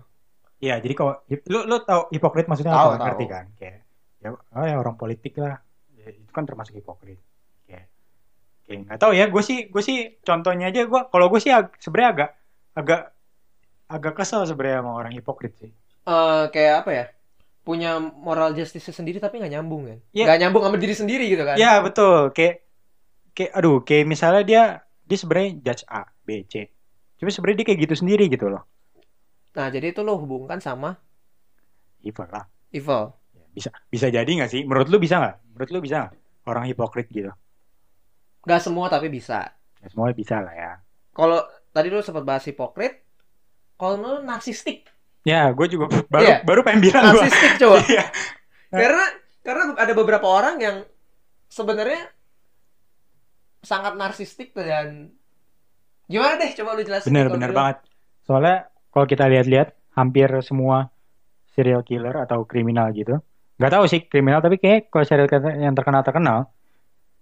[SPEAKER 2] ya jadi kalau lu lu tahu hipokrit maksudnya
[SPEAKER 1] Tahu,
[SPEAKER 2] apa
[SPEAKER 1] tahu.
[SPEAKER 2] ngerti kan kayak ya, oh ya orang politik lah Ya, itu kan termasuk hipokrit kayak Oke, nggak tahu ya. Gue sih, gue sih contohnya aja. Gue kalau gue sih ag- sebenarnya agak, agak, agak kesel sebenarnya sama orang hipokrit sih.
[SPEAKER 1] eh kayak apa ya punya moral justice sendiri tapi nggak nyambung kan
[SPEAKER 2] Iya.
[SPEAKER 1] nggak nyambung sama diri sendiri gitu kan
[SPEAKER 2] Ya betul. Kayak, kayak, aduh, kayak misalnya dia, dia sebenarnya judge A, B, C. Cuma sebenarnya dia kayak gitu sendiri gitu loh.
[SPEAKER 1] nah jadi itu lo hubungkan sama
[SPEAKER 2] Evil lah.
[SPEAKER 1] evil
[SPEAKER 2] ya, Bisa, bisa jadi nggak sih? Menurut lu bisa nggak? Menurut lu bisa nggak? Orang hipokrit gitu.
[SPEAKER 1] nggak semua tapi bisa
[SPEAKER 2] Ya, semuanya bisa lah ya.
[SPEAKER 1] kalau tadi lo sempat bahas hipokrit kalau lo narsistik
[SPEAKER 2] Ya, gue juga baru,
[SPEAKER 1] Iya.
[SPEAKER 2] baru pengen bilang gue.
[SPEAKER 1] narsistik coba
[SPEAKER 2] Iya.
[SPEAKER 1] karena karena ada beberapa orang yang sebenarnya sangat narsistik dan gimana deh coba lu jelasin
[SPEAKER 2] Bener,
[SPEAKER 1] Kalau
[SPEAKER 2] bener
[SPEAKER 1] lu-
[SPEAKER 2] banget. Soalnya kalau kita lihat-lihat, hampir semua serial killer atau kriminal gitu. Nggak tahu sih kriminal, tapi kayak kalau serial killer yang terkenal-terkenal,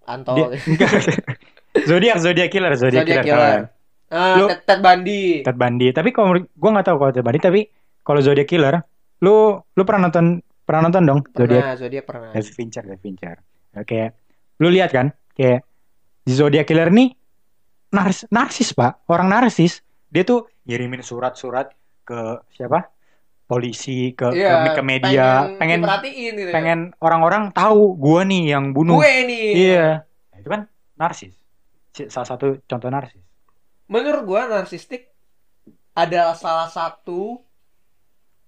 [SPEAKER 1] Anto
[SPEAKER 2] dia- enggak. Zodiac, Zodiac killer, Zodiac,
[SPEAKER 1] Zodiac
[SPEAKER 2] killer.
[SPEAKER 1] killer.
[SPEAKER 2] killer.
[SPEAKER 1] Ah,
[SPEAKER 2] Lu-
[SPEAKER 1] Ted, Ted Bundy
[SPEAKER 2] Ted Bundy. Tapi kalau menurut- gua nggak tahu kalau Ted Bundy, tapi kalau Zodiac killer, lu lu pernah nonton pernah nonton dong Zodiac
[SPEAKER 1] pernah Zodiac pernah
[SPEAKER 2] David Fincher, David Fincher. Nah, Kayak lu lihat kan, kayak di Zodiac Killer nih narsis, narsis pak, orang narsis. Dia tuh ngirimin surat-surat ke siapa? Polisi, ke, ke-
[SPEAKER 1] Iya,
[SPEAKER 2] ke, media, pengen pengen,
[SPEAKER 1] diperhatiin gitu ya.
[SPEAKER 2] orang-orang tahu gua nih yang bunuh.
[SPEAKER 1] gue nih
[SPEAKER 2] Iya, Nah, itu kan narsis. Si- Salah satu contoh narsis.
[SPEAKER 1] menurut gue narsistik adalah salah satu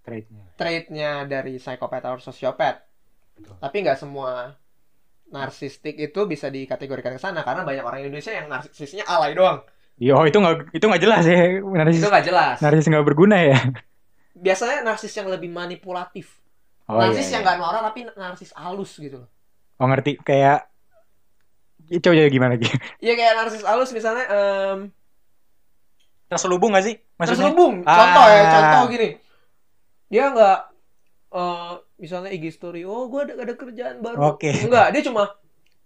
[SPEAKER 2] Traitnya.
[SPEAKER 1] traitnya dari psikopat atau sosiopat
[SPEAKER 2] Betul.
[SPEAKER 1] tapi nggak semua narsistik itu bisa dikategorikan ke sana karena banyak orang Indonesia yang narsisnya alay doang
[SPEAKER 2] Iya, Oh itu nggak itu nggak jelas ya narsis.
[SPEAKER 1] itu nggak jelas
[SPEAKER 2] Narsis nggak berguna ya.
[SPEAKER 1] biasanya narsis yang lebih manipulatif
[SPEAKER 2] Oh, iya,
[SPEAKER 1] narsis
[SPEAKER 2] iya.
[SPEAKER 1] yang nggak norak tapi narsis halus gitu loh
[SPEAKER 2] Oh ngerti kayak coba coba gimana lagi?
[SPEAKER 1] Iya kayak narsis halus misalnya em
[SPEAKER 2] Terselubung gak sih?
[SPEAKER 1] terus
[SPEAKER 2] Maksudnya?
[SPEAKER 1] lubung contoh ya
[SPEAKER 2] Ah.
[SPEAKER 1] contoh gini dia nggak eh misalnya IG story oh gue ada, ada kerjaan baru
[SPEAKER 2] Oke.
[SPEAKER 1] enggak dia cuma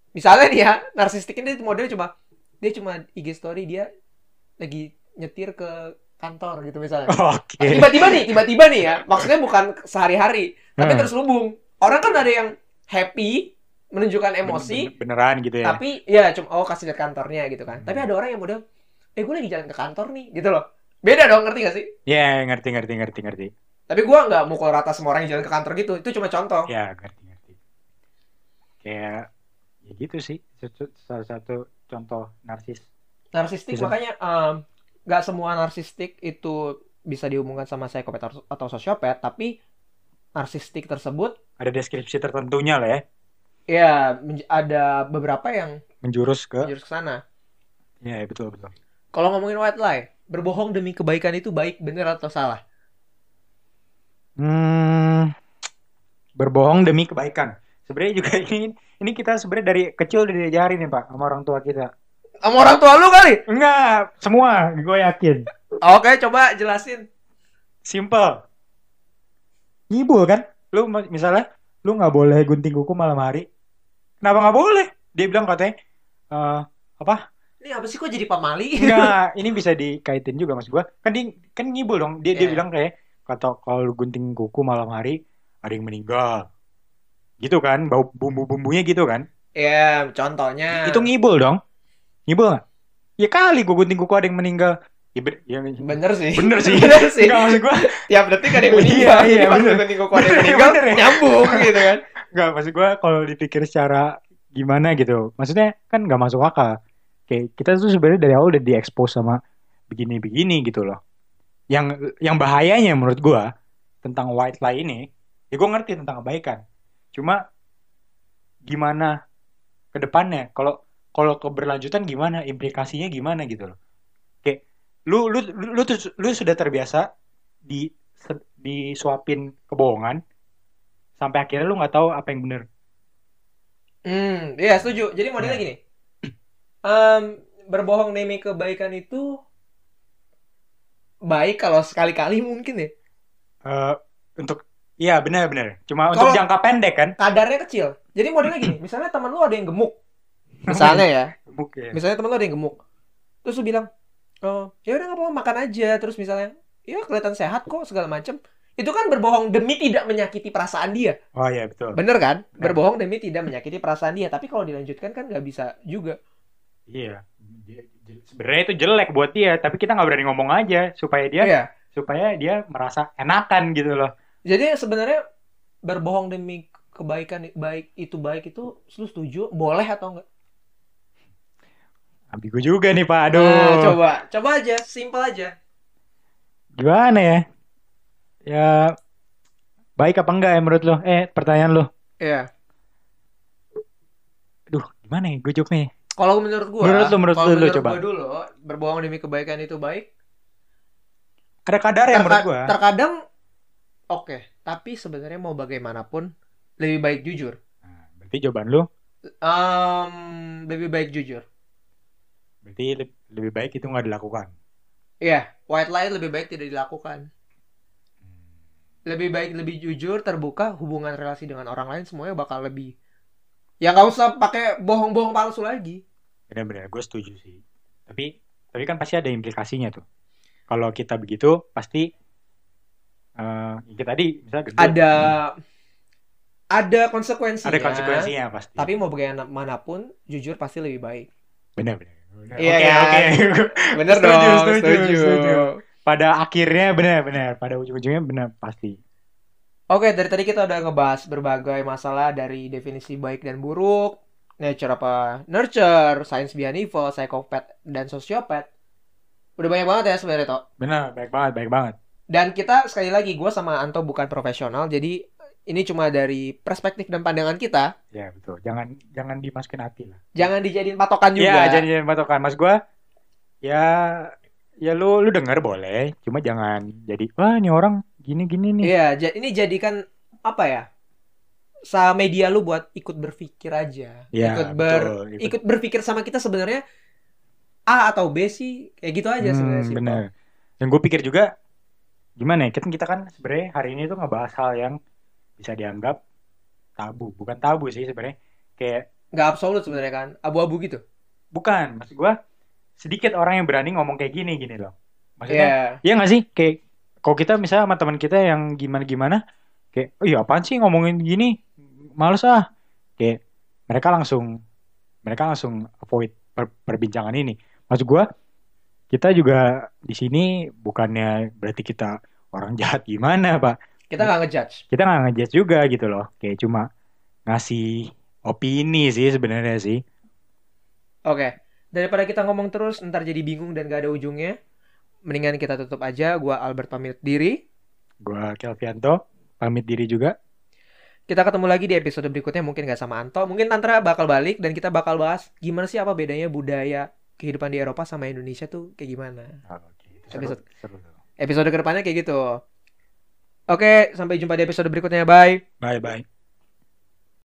[SPEAKER 1] misalnya nih ya narsistik ini modelnya cuma dia cuma IG story dia lagi nyetir ke kantor gitu misalnya
[SPEAKER 2] Oke.
[SPEAKER 1] tiba-tiba nih tiba-tiba nih ya maksudnya bukan sehari-hari tapi
[SPEAKER 2] Hmm.
[SPEAKER 1] terus lubung orang kan ada yang happy menunjukkan emosi
[SPEAKER 2] Bener- beneran gitu ya.
[SPEAKER 1] tapi ya cuma oh kasih lihat kantornya gitu kan
[SPEAKER 2] Hmm.
[SPEAKER 1] tapi ada orang yang model eh gue lagi jalan ke kantor nih gitu loh beda dong ngerti gak sih
[SPEAKER 2] Ya ngerti ngerti ngerti ngerti.
[SPEAKER 1] tapi gue nggak mukul rata semua orang yang jalan ke kantor gitu itu cuma contoh
[SPEAKER 2] Ya ngerti ngerti. Kayak ya gitu sih. Satu- Salah satu contoh narsis.
[SPEAKER 1] narsistik
[SPEAKER 2] Bisa.
[SPEAKER 1] makanya em, nggak semua narsistik itu bisa dihubungkan sama psikopat atau- atau sosiopat tapi narsistik tersebut
[SPEAKER 2] Ada deskripsi tertentunya lah ya.
[SPEAKER 1] ya menj- ada beberapa yang
[SPEAKER 2] Menjurus ke.
[SPEAKER 1] menjurus ke sana Iya.
[SPEAKER 2] Ya betul betul.
[SPEAKER 1] kalau ngomongin white lie berbohong demi kebaikan itu baik bener atau salah
[SPEAKER 2] Hmm, berbohong demi kebaikan. Sebenarnya juga ini ini kita sebenarnya dari kecil udah diajarin ya pak sama orang tua kita.
[SPEAKER 1] sama orang tua lu kali
[SPEAKER 2] Enggak, semua gue yakin.
[SPEAKER 1] oke coba jelasin
[SPEAKER 2] Simple. Ngibul kan? Lu ma- misalnya lu nggak boleh gunting kuku malam hari. Kenapa nggak boleh? Dia bilang katanya eh apa?
[SPEAKER 1] ini apa sih kok jadi pamali
[SPEAKER 2] Enggak, ini bisa dikaitin juga Mas gua. Kan dia kan ngibul dong. Dia dia
[SPEAKER 1] Iya.
[SPEAKER 2] bilang kayak kata kalau lu gunting kuku malam hari ada yang meninggal. Gitu kan, bau bumbu-bumbunya gitu kan.
[SPEAKER 1] Ya, contohnya.
[SPEAKER 2] Itu ngibul dong. Ngibul nggak? Ya kali gua gunting kuku ada yang meninggal. Ya, ben- ya-
[SPEAKER 1] bener sih.
[SPEAKER 2] bener sih.
[SPEAKER 1] bener sih.
[SPEAKER 2] Enggak maksud gua.
[SPEAKER 1] Ya berarti kan yang meninggal.
[SPEAKER 2] Iya, iya,
[SPEAKER 1] Jadi pas
[SPEAKER 2] bener.
[SPEAKER 1] nonton Niko Kwan yang
[SPEAKER 2] Bener,
[SPEAKER 1] meninggal
[SPEAKER 2] bener ya.
[SPEAKER 1] nyambung gitu kan.
[SPEAKER 2] Gak, maksud gue kalau dipikir secara gimana gitu. Maksudnya kan gak masuk akal. Kayak kita tuh sebenarnya dari awal udah diekspos sama begini-begini gitu loh. Yang yang bahayanya menurut gue tentang white lie ini, ya gue ngerti tentang kebaikan. Cuma gimana ke depannya? Kalau kalau keberlanjutan gimana? Implikasinya gimana gitu loh. Kayak lu lu lu, lu, tuh- lu sudah terbiasa di disuapin kebohongan sampai akhirnya lu nggak tahu apa yang bener
[SPEAKER 1] Hmm, iya setuju. Jadi modelnya gini. Em, berbohong demi kebaikan itu baik kalau sekali-kali mungkin ya.
[SPEAKER 2] Eh, untuk iya benar-benar cuma untuk
[SPEAKER 1] Kalau-
[SPEAKER 2] jangka pendek kan
[SPEAKER 1] Kadarnya kecil. Jadi modelnya gini, misalnya teman lu ada yang gemuk. Misalnya ya,
[SPEAKER 2] mungkin
[SPEAKER 1] misalnya teman lu ada yang gemuk. Terus lu bilang, "Oh, ya udah nggak apa-apa makan aja." Terus misalnya, "Ya kelihatan sehat kok segala macem Itu kan berbohong demi tidak menyakiti perasaan dia.
[SPEAKER 2] oh iya betul
[SPEAKER 1] Bener kan?
[SPEAKER 2] Bener.
[SPEAKER 1] Berbohong demi tidak menyakiti perasaan dia. Tapi kalau dilanjutkan kan nggak bisa juga.
[SPEAKER 2] Iya. Sebenarnya itu jelek buat dia, tapi kita nggak berani ngomong aja supaya dia
[SPEAKER 1] Iya.
[SPEAKER 2] supaya dia merasa enakan gitu loh.
[SPEAKER 1] Jadi sebenarnya berbohong demi kebaikan baik itu baik itu lu setuju boleh atau enggak?
[SPEAKER 2] Ambigu juga nih Pak. Aduh.
[SPEAKER 1] Nah, coba coba aja, simpel aja.
[SPEAKER 2] Gimana ya? Ya baik apa enggak ya menurut lo? Eh, pertanyaan lo.
[SPEAKER 1] Iya.
[SPEAKER 2] Duh, gimana ya gue jawabnya?
[SPEAKER 1] Kalau menurut gua,
[SPEAKER 2] Menurut lu, menurut
[SPEAKER 1] kalau
[SPEAKER 2] lu, lu
[SPEAKER 1] menurut
[SPEAKER 2] coba.
[SPEAKER 1] gua dulu berbohong demi kebaikan itu baik.
[SPEAKER 2] Ada
[SPEAKER 1] Terka-
[SPEAKER 2] kadarnya ya Kan menurut gue.
[SPEAKER 1] Eh, Terkadang oke, tapi sebenarnya mau bagaimanapun lebih baik jujur.
[SPEAKER 2] Nah, berarti jawaban lo
[SPEAKER 1] Em, lebih baik jujur.
[SPEAKER 2] berarti le- lebih baik itu nggak dilakukan.
[SPEAKER 1] Iya, white lie lebih baik tidak dilakukan. Lebih baik lebih jujur, terbuka, hubungan relasi dengan orang lain semuanya bakal lebih. Ya nggak usah pakai bohong-bohong palsu lagi.
[SPEAKER 2] Benar-benar gue setuju sih. Tapi tapi kan pasti ada implikasinya tuh. Kalau kita begitu pasti eh yang tadi misalnya gendut,
[SPEAKER 1] Ada ada konsekuensinya.
[SPEAKER 2] ada konsekuensinya pasti.
[SPEAKER 1] Tapi mau bagaimanapun, jujur pasti lebih baik.
[SPEAKER 2] benar-benar.
[SPEAKER 1] Iya
[SPEAKER 2] Oke,
[SPEAKER 1] kan?
[SPEAKER 2] oke.
[SPEAKER 1] Bener
[SPEAKER 2] Setuju,
[SPEAKER 1] dong,
[SPEAKER 2] setuju,
[SPEAKER 1] setuju.
[SPEAKER 2] setuju. Pada akhirnya benar-benar, pada ujung-ujungnya benar pasti.
[SPEAKER 1] Oke, dari tadi kita udah ngebahas berbagai masalah dari definisi baik dan buruk, nature apa nurture, science behind evil, psychopath, dan sociopath. Udah banyak banget ya sebenarnya, Tok.
[SPEAKER 2] Benar, baik banget, baik banget.
[SPEAKER 1] Dan kita, sekali lagi, gue sama Anto bukan profesional, jadi ini cuma dari perspektif dan pandangan kita.
[SPEAKER 2] Ya betul. Jangan jangan dimasukin hati lah.
[SPEAKER 1] Jangan dijadiin patokan juga.
[SPEAKER 2] Iya, jangan jangan patokan. Mas gua ya ya lu lu denger boleh, cuma jangan jadi wah ini orang gini-gini nih.
[SPEAKER 1] Iya, ja- ini jadikan, apa ya, sa media lu buat ikut berpikir aja.
[SPEAKER 2] Iya,
[SPEAKER 1] ikut ber
[SPEAKER 2] betul. Ikut-
[SPEAKER 1] ikut berpikir sama kita sebenarnya A atau B sih kayak gitu aja sebenarnya
[SPEAKER 2] Hmm,
[SPEAKER 1] sih.
[SPEAKER 2] benar. Dan gue pikir juga gimana ya? Kita kita kan sebenarnya hari ini tuh ngebahas hal yang bisa dianggap tabu, bukan tabu sih sebenarnya. Kayak
[SPEAKER 1] Nggak absolut sebenarnya kan, abu-abu gitu.
[SPEAKER 2] bukan maksud gue sedikit orang yang berani ngomong kayak gini gini loh.
[SPEAKER 1] Iya.
[SPEAKER 2] Maksudnya iya nggak sih? Kayak kalau kita misalnya sama teman kita yang gimana-gimana kayak oh iya apaan sih ngomongin gini? Males ah. Kayak mereka langsung mereka langsung avoid per- perbincangan ini. Maksud gua kita juga di sini bukannya berarti kita orang jahat gimana, Pak.
[SPEAKER 1] Kita nggak ngejudge.
[SPEAKER 2] Kita nggak ngejudge juga gitu loh. Kayak cuma ngasih opini sih sebenarnya sih.
[SPEAKER 1] Oke. Daripada kita ngomong terus ntar jadi bingung dan gak ada ujungnya, mendingan kita tutup aja. Gua Albert pamit diri.
[SPEAKER 2] Gua Kelvianto pamit diri juga.
[SPEAKER 1] Kita ketemu lagi di episode berikutnya mungkin nggak sama Anto, mungkin Tantra bakal balik dan kita bakal bahas gimana sih apa bedanya budaya kehidupan di Eropa sama Indonesia tuh kayak gimana.
[SPEAKER 2] Oke,
[SPEAKER 1] seru- Episode-
[SPEAKER 2] seru.
[SPEAKER 1] Episode kedepannya kayak gitu. Oke, sampai jumpa di episode berikutnya. Bye.
[SPEAKER 2] Bye bye.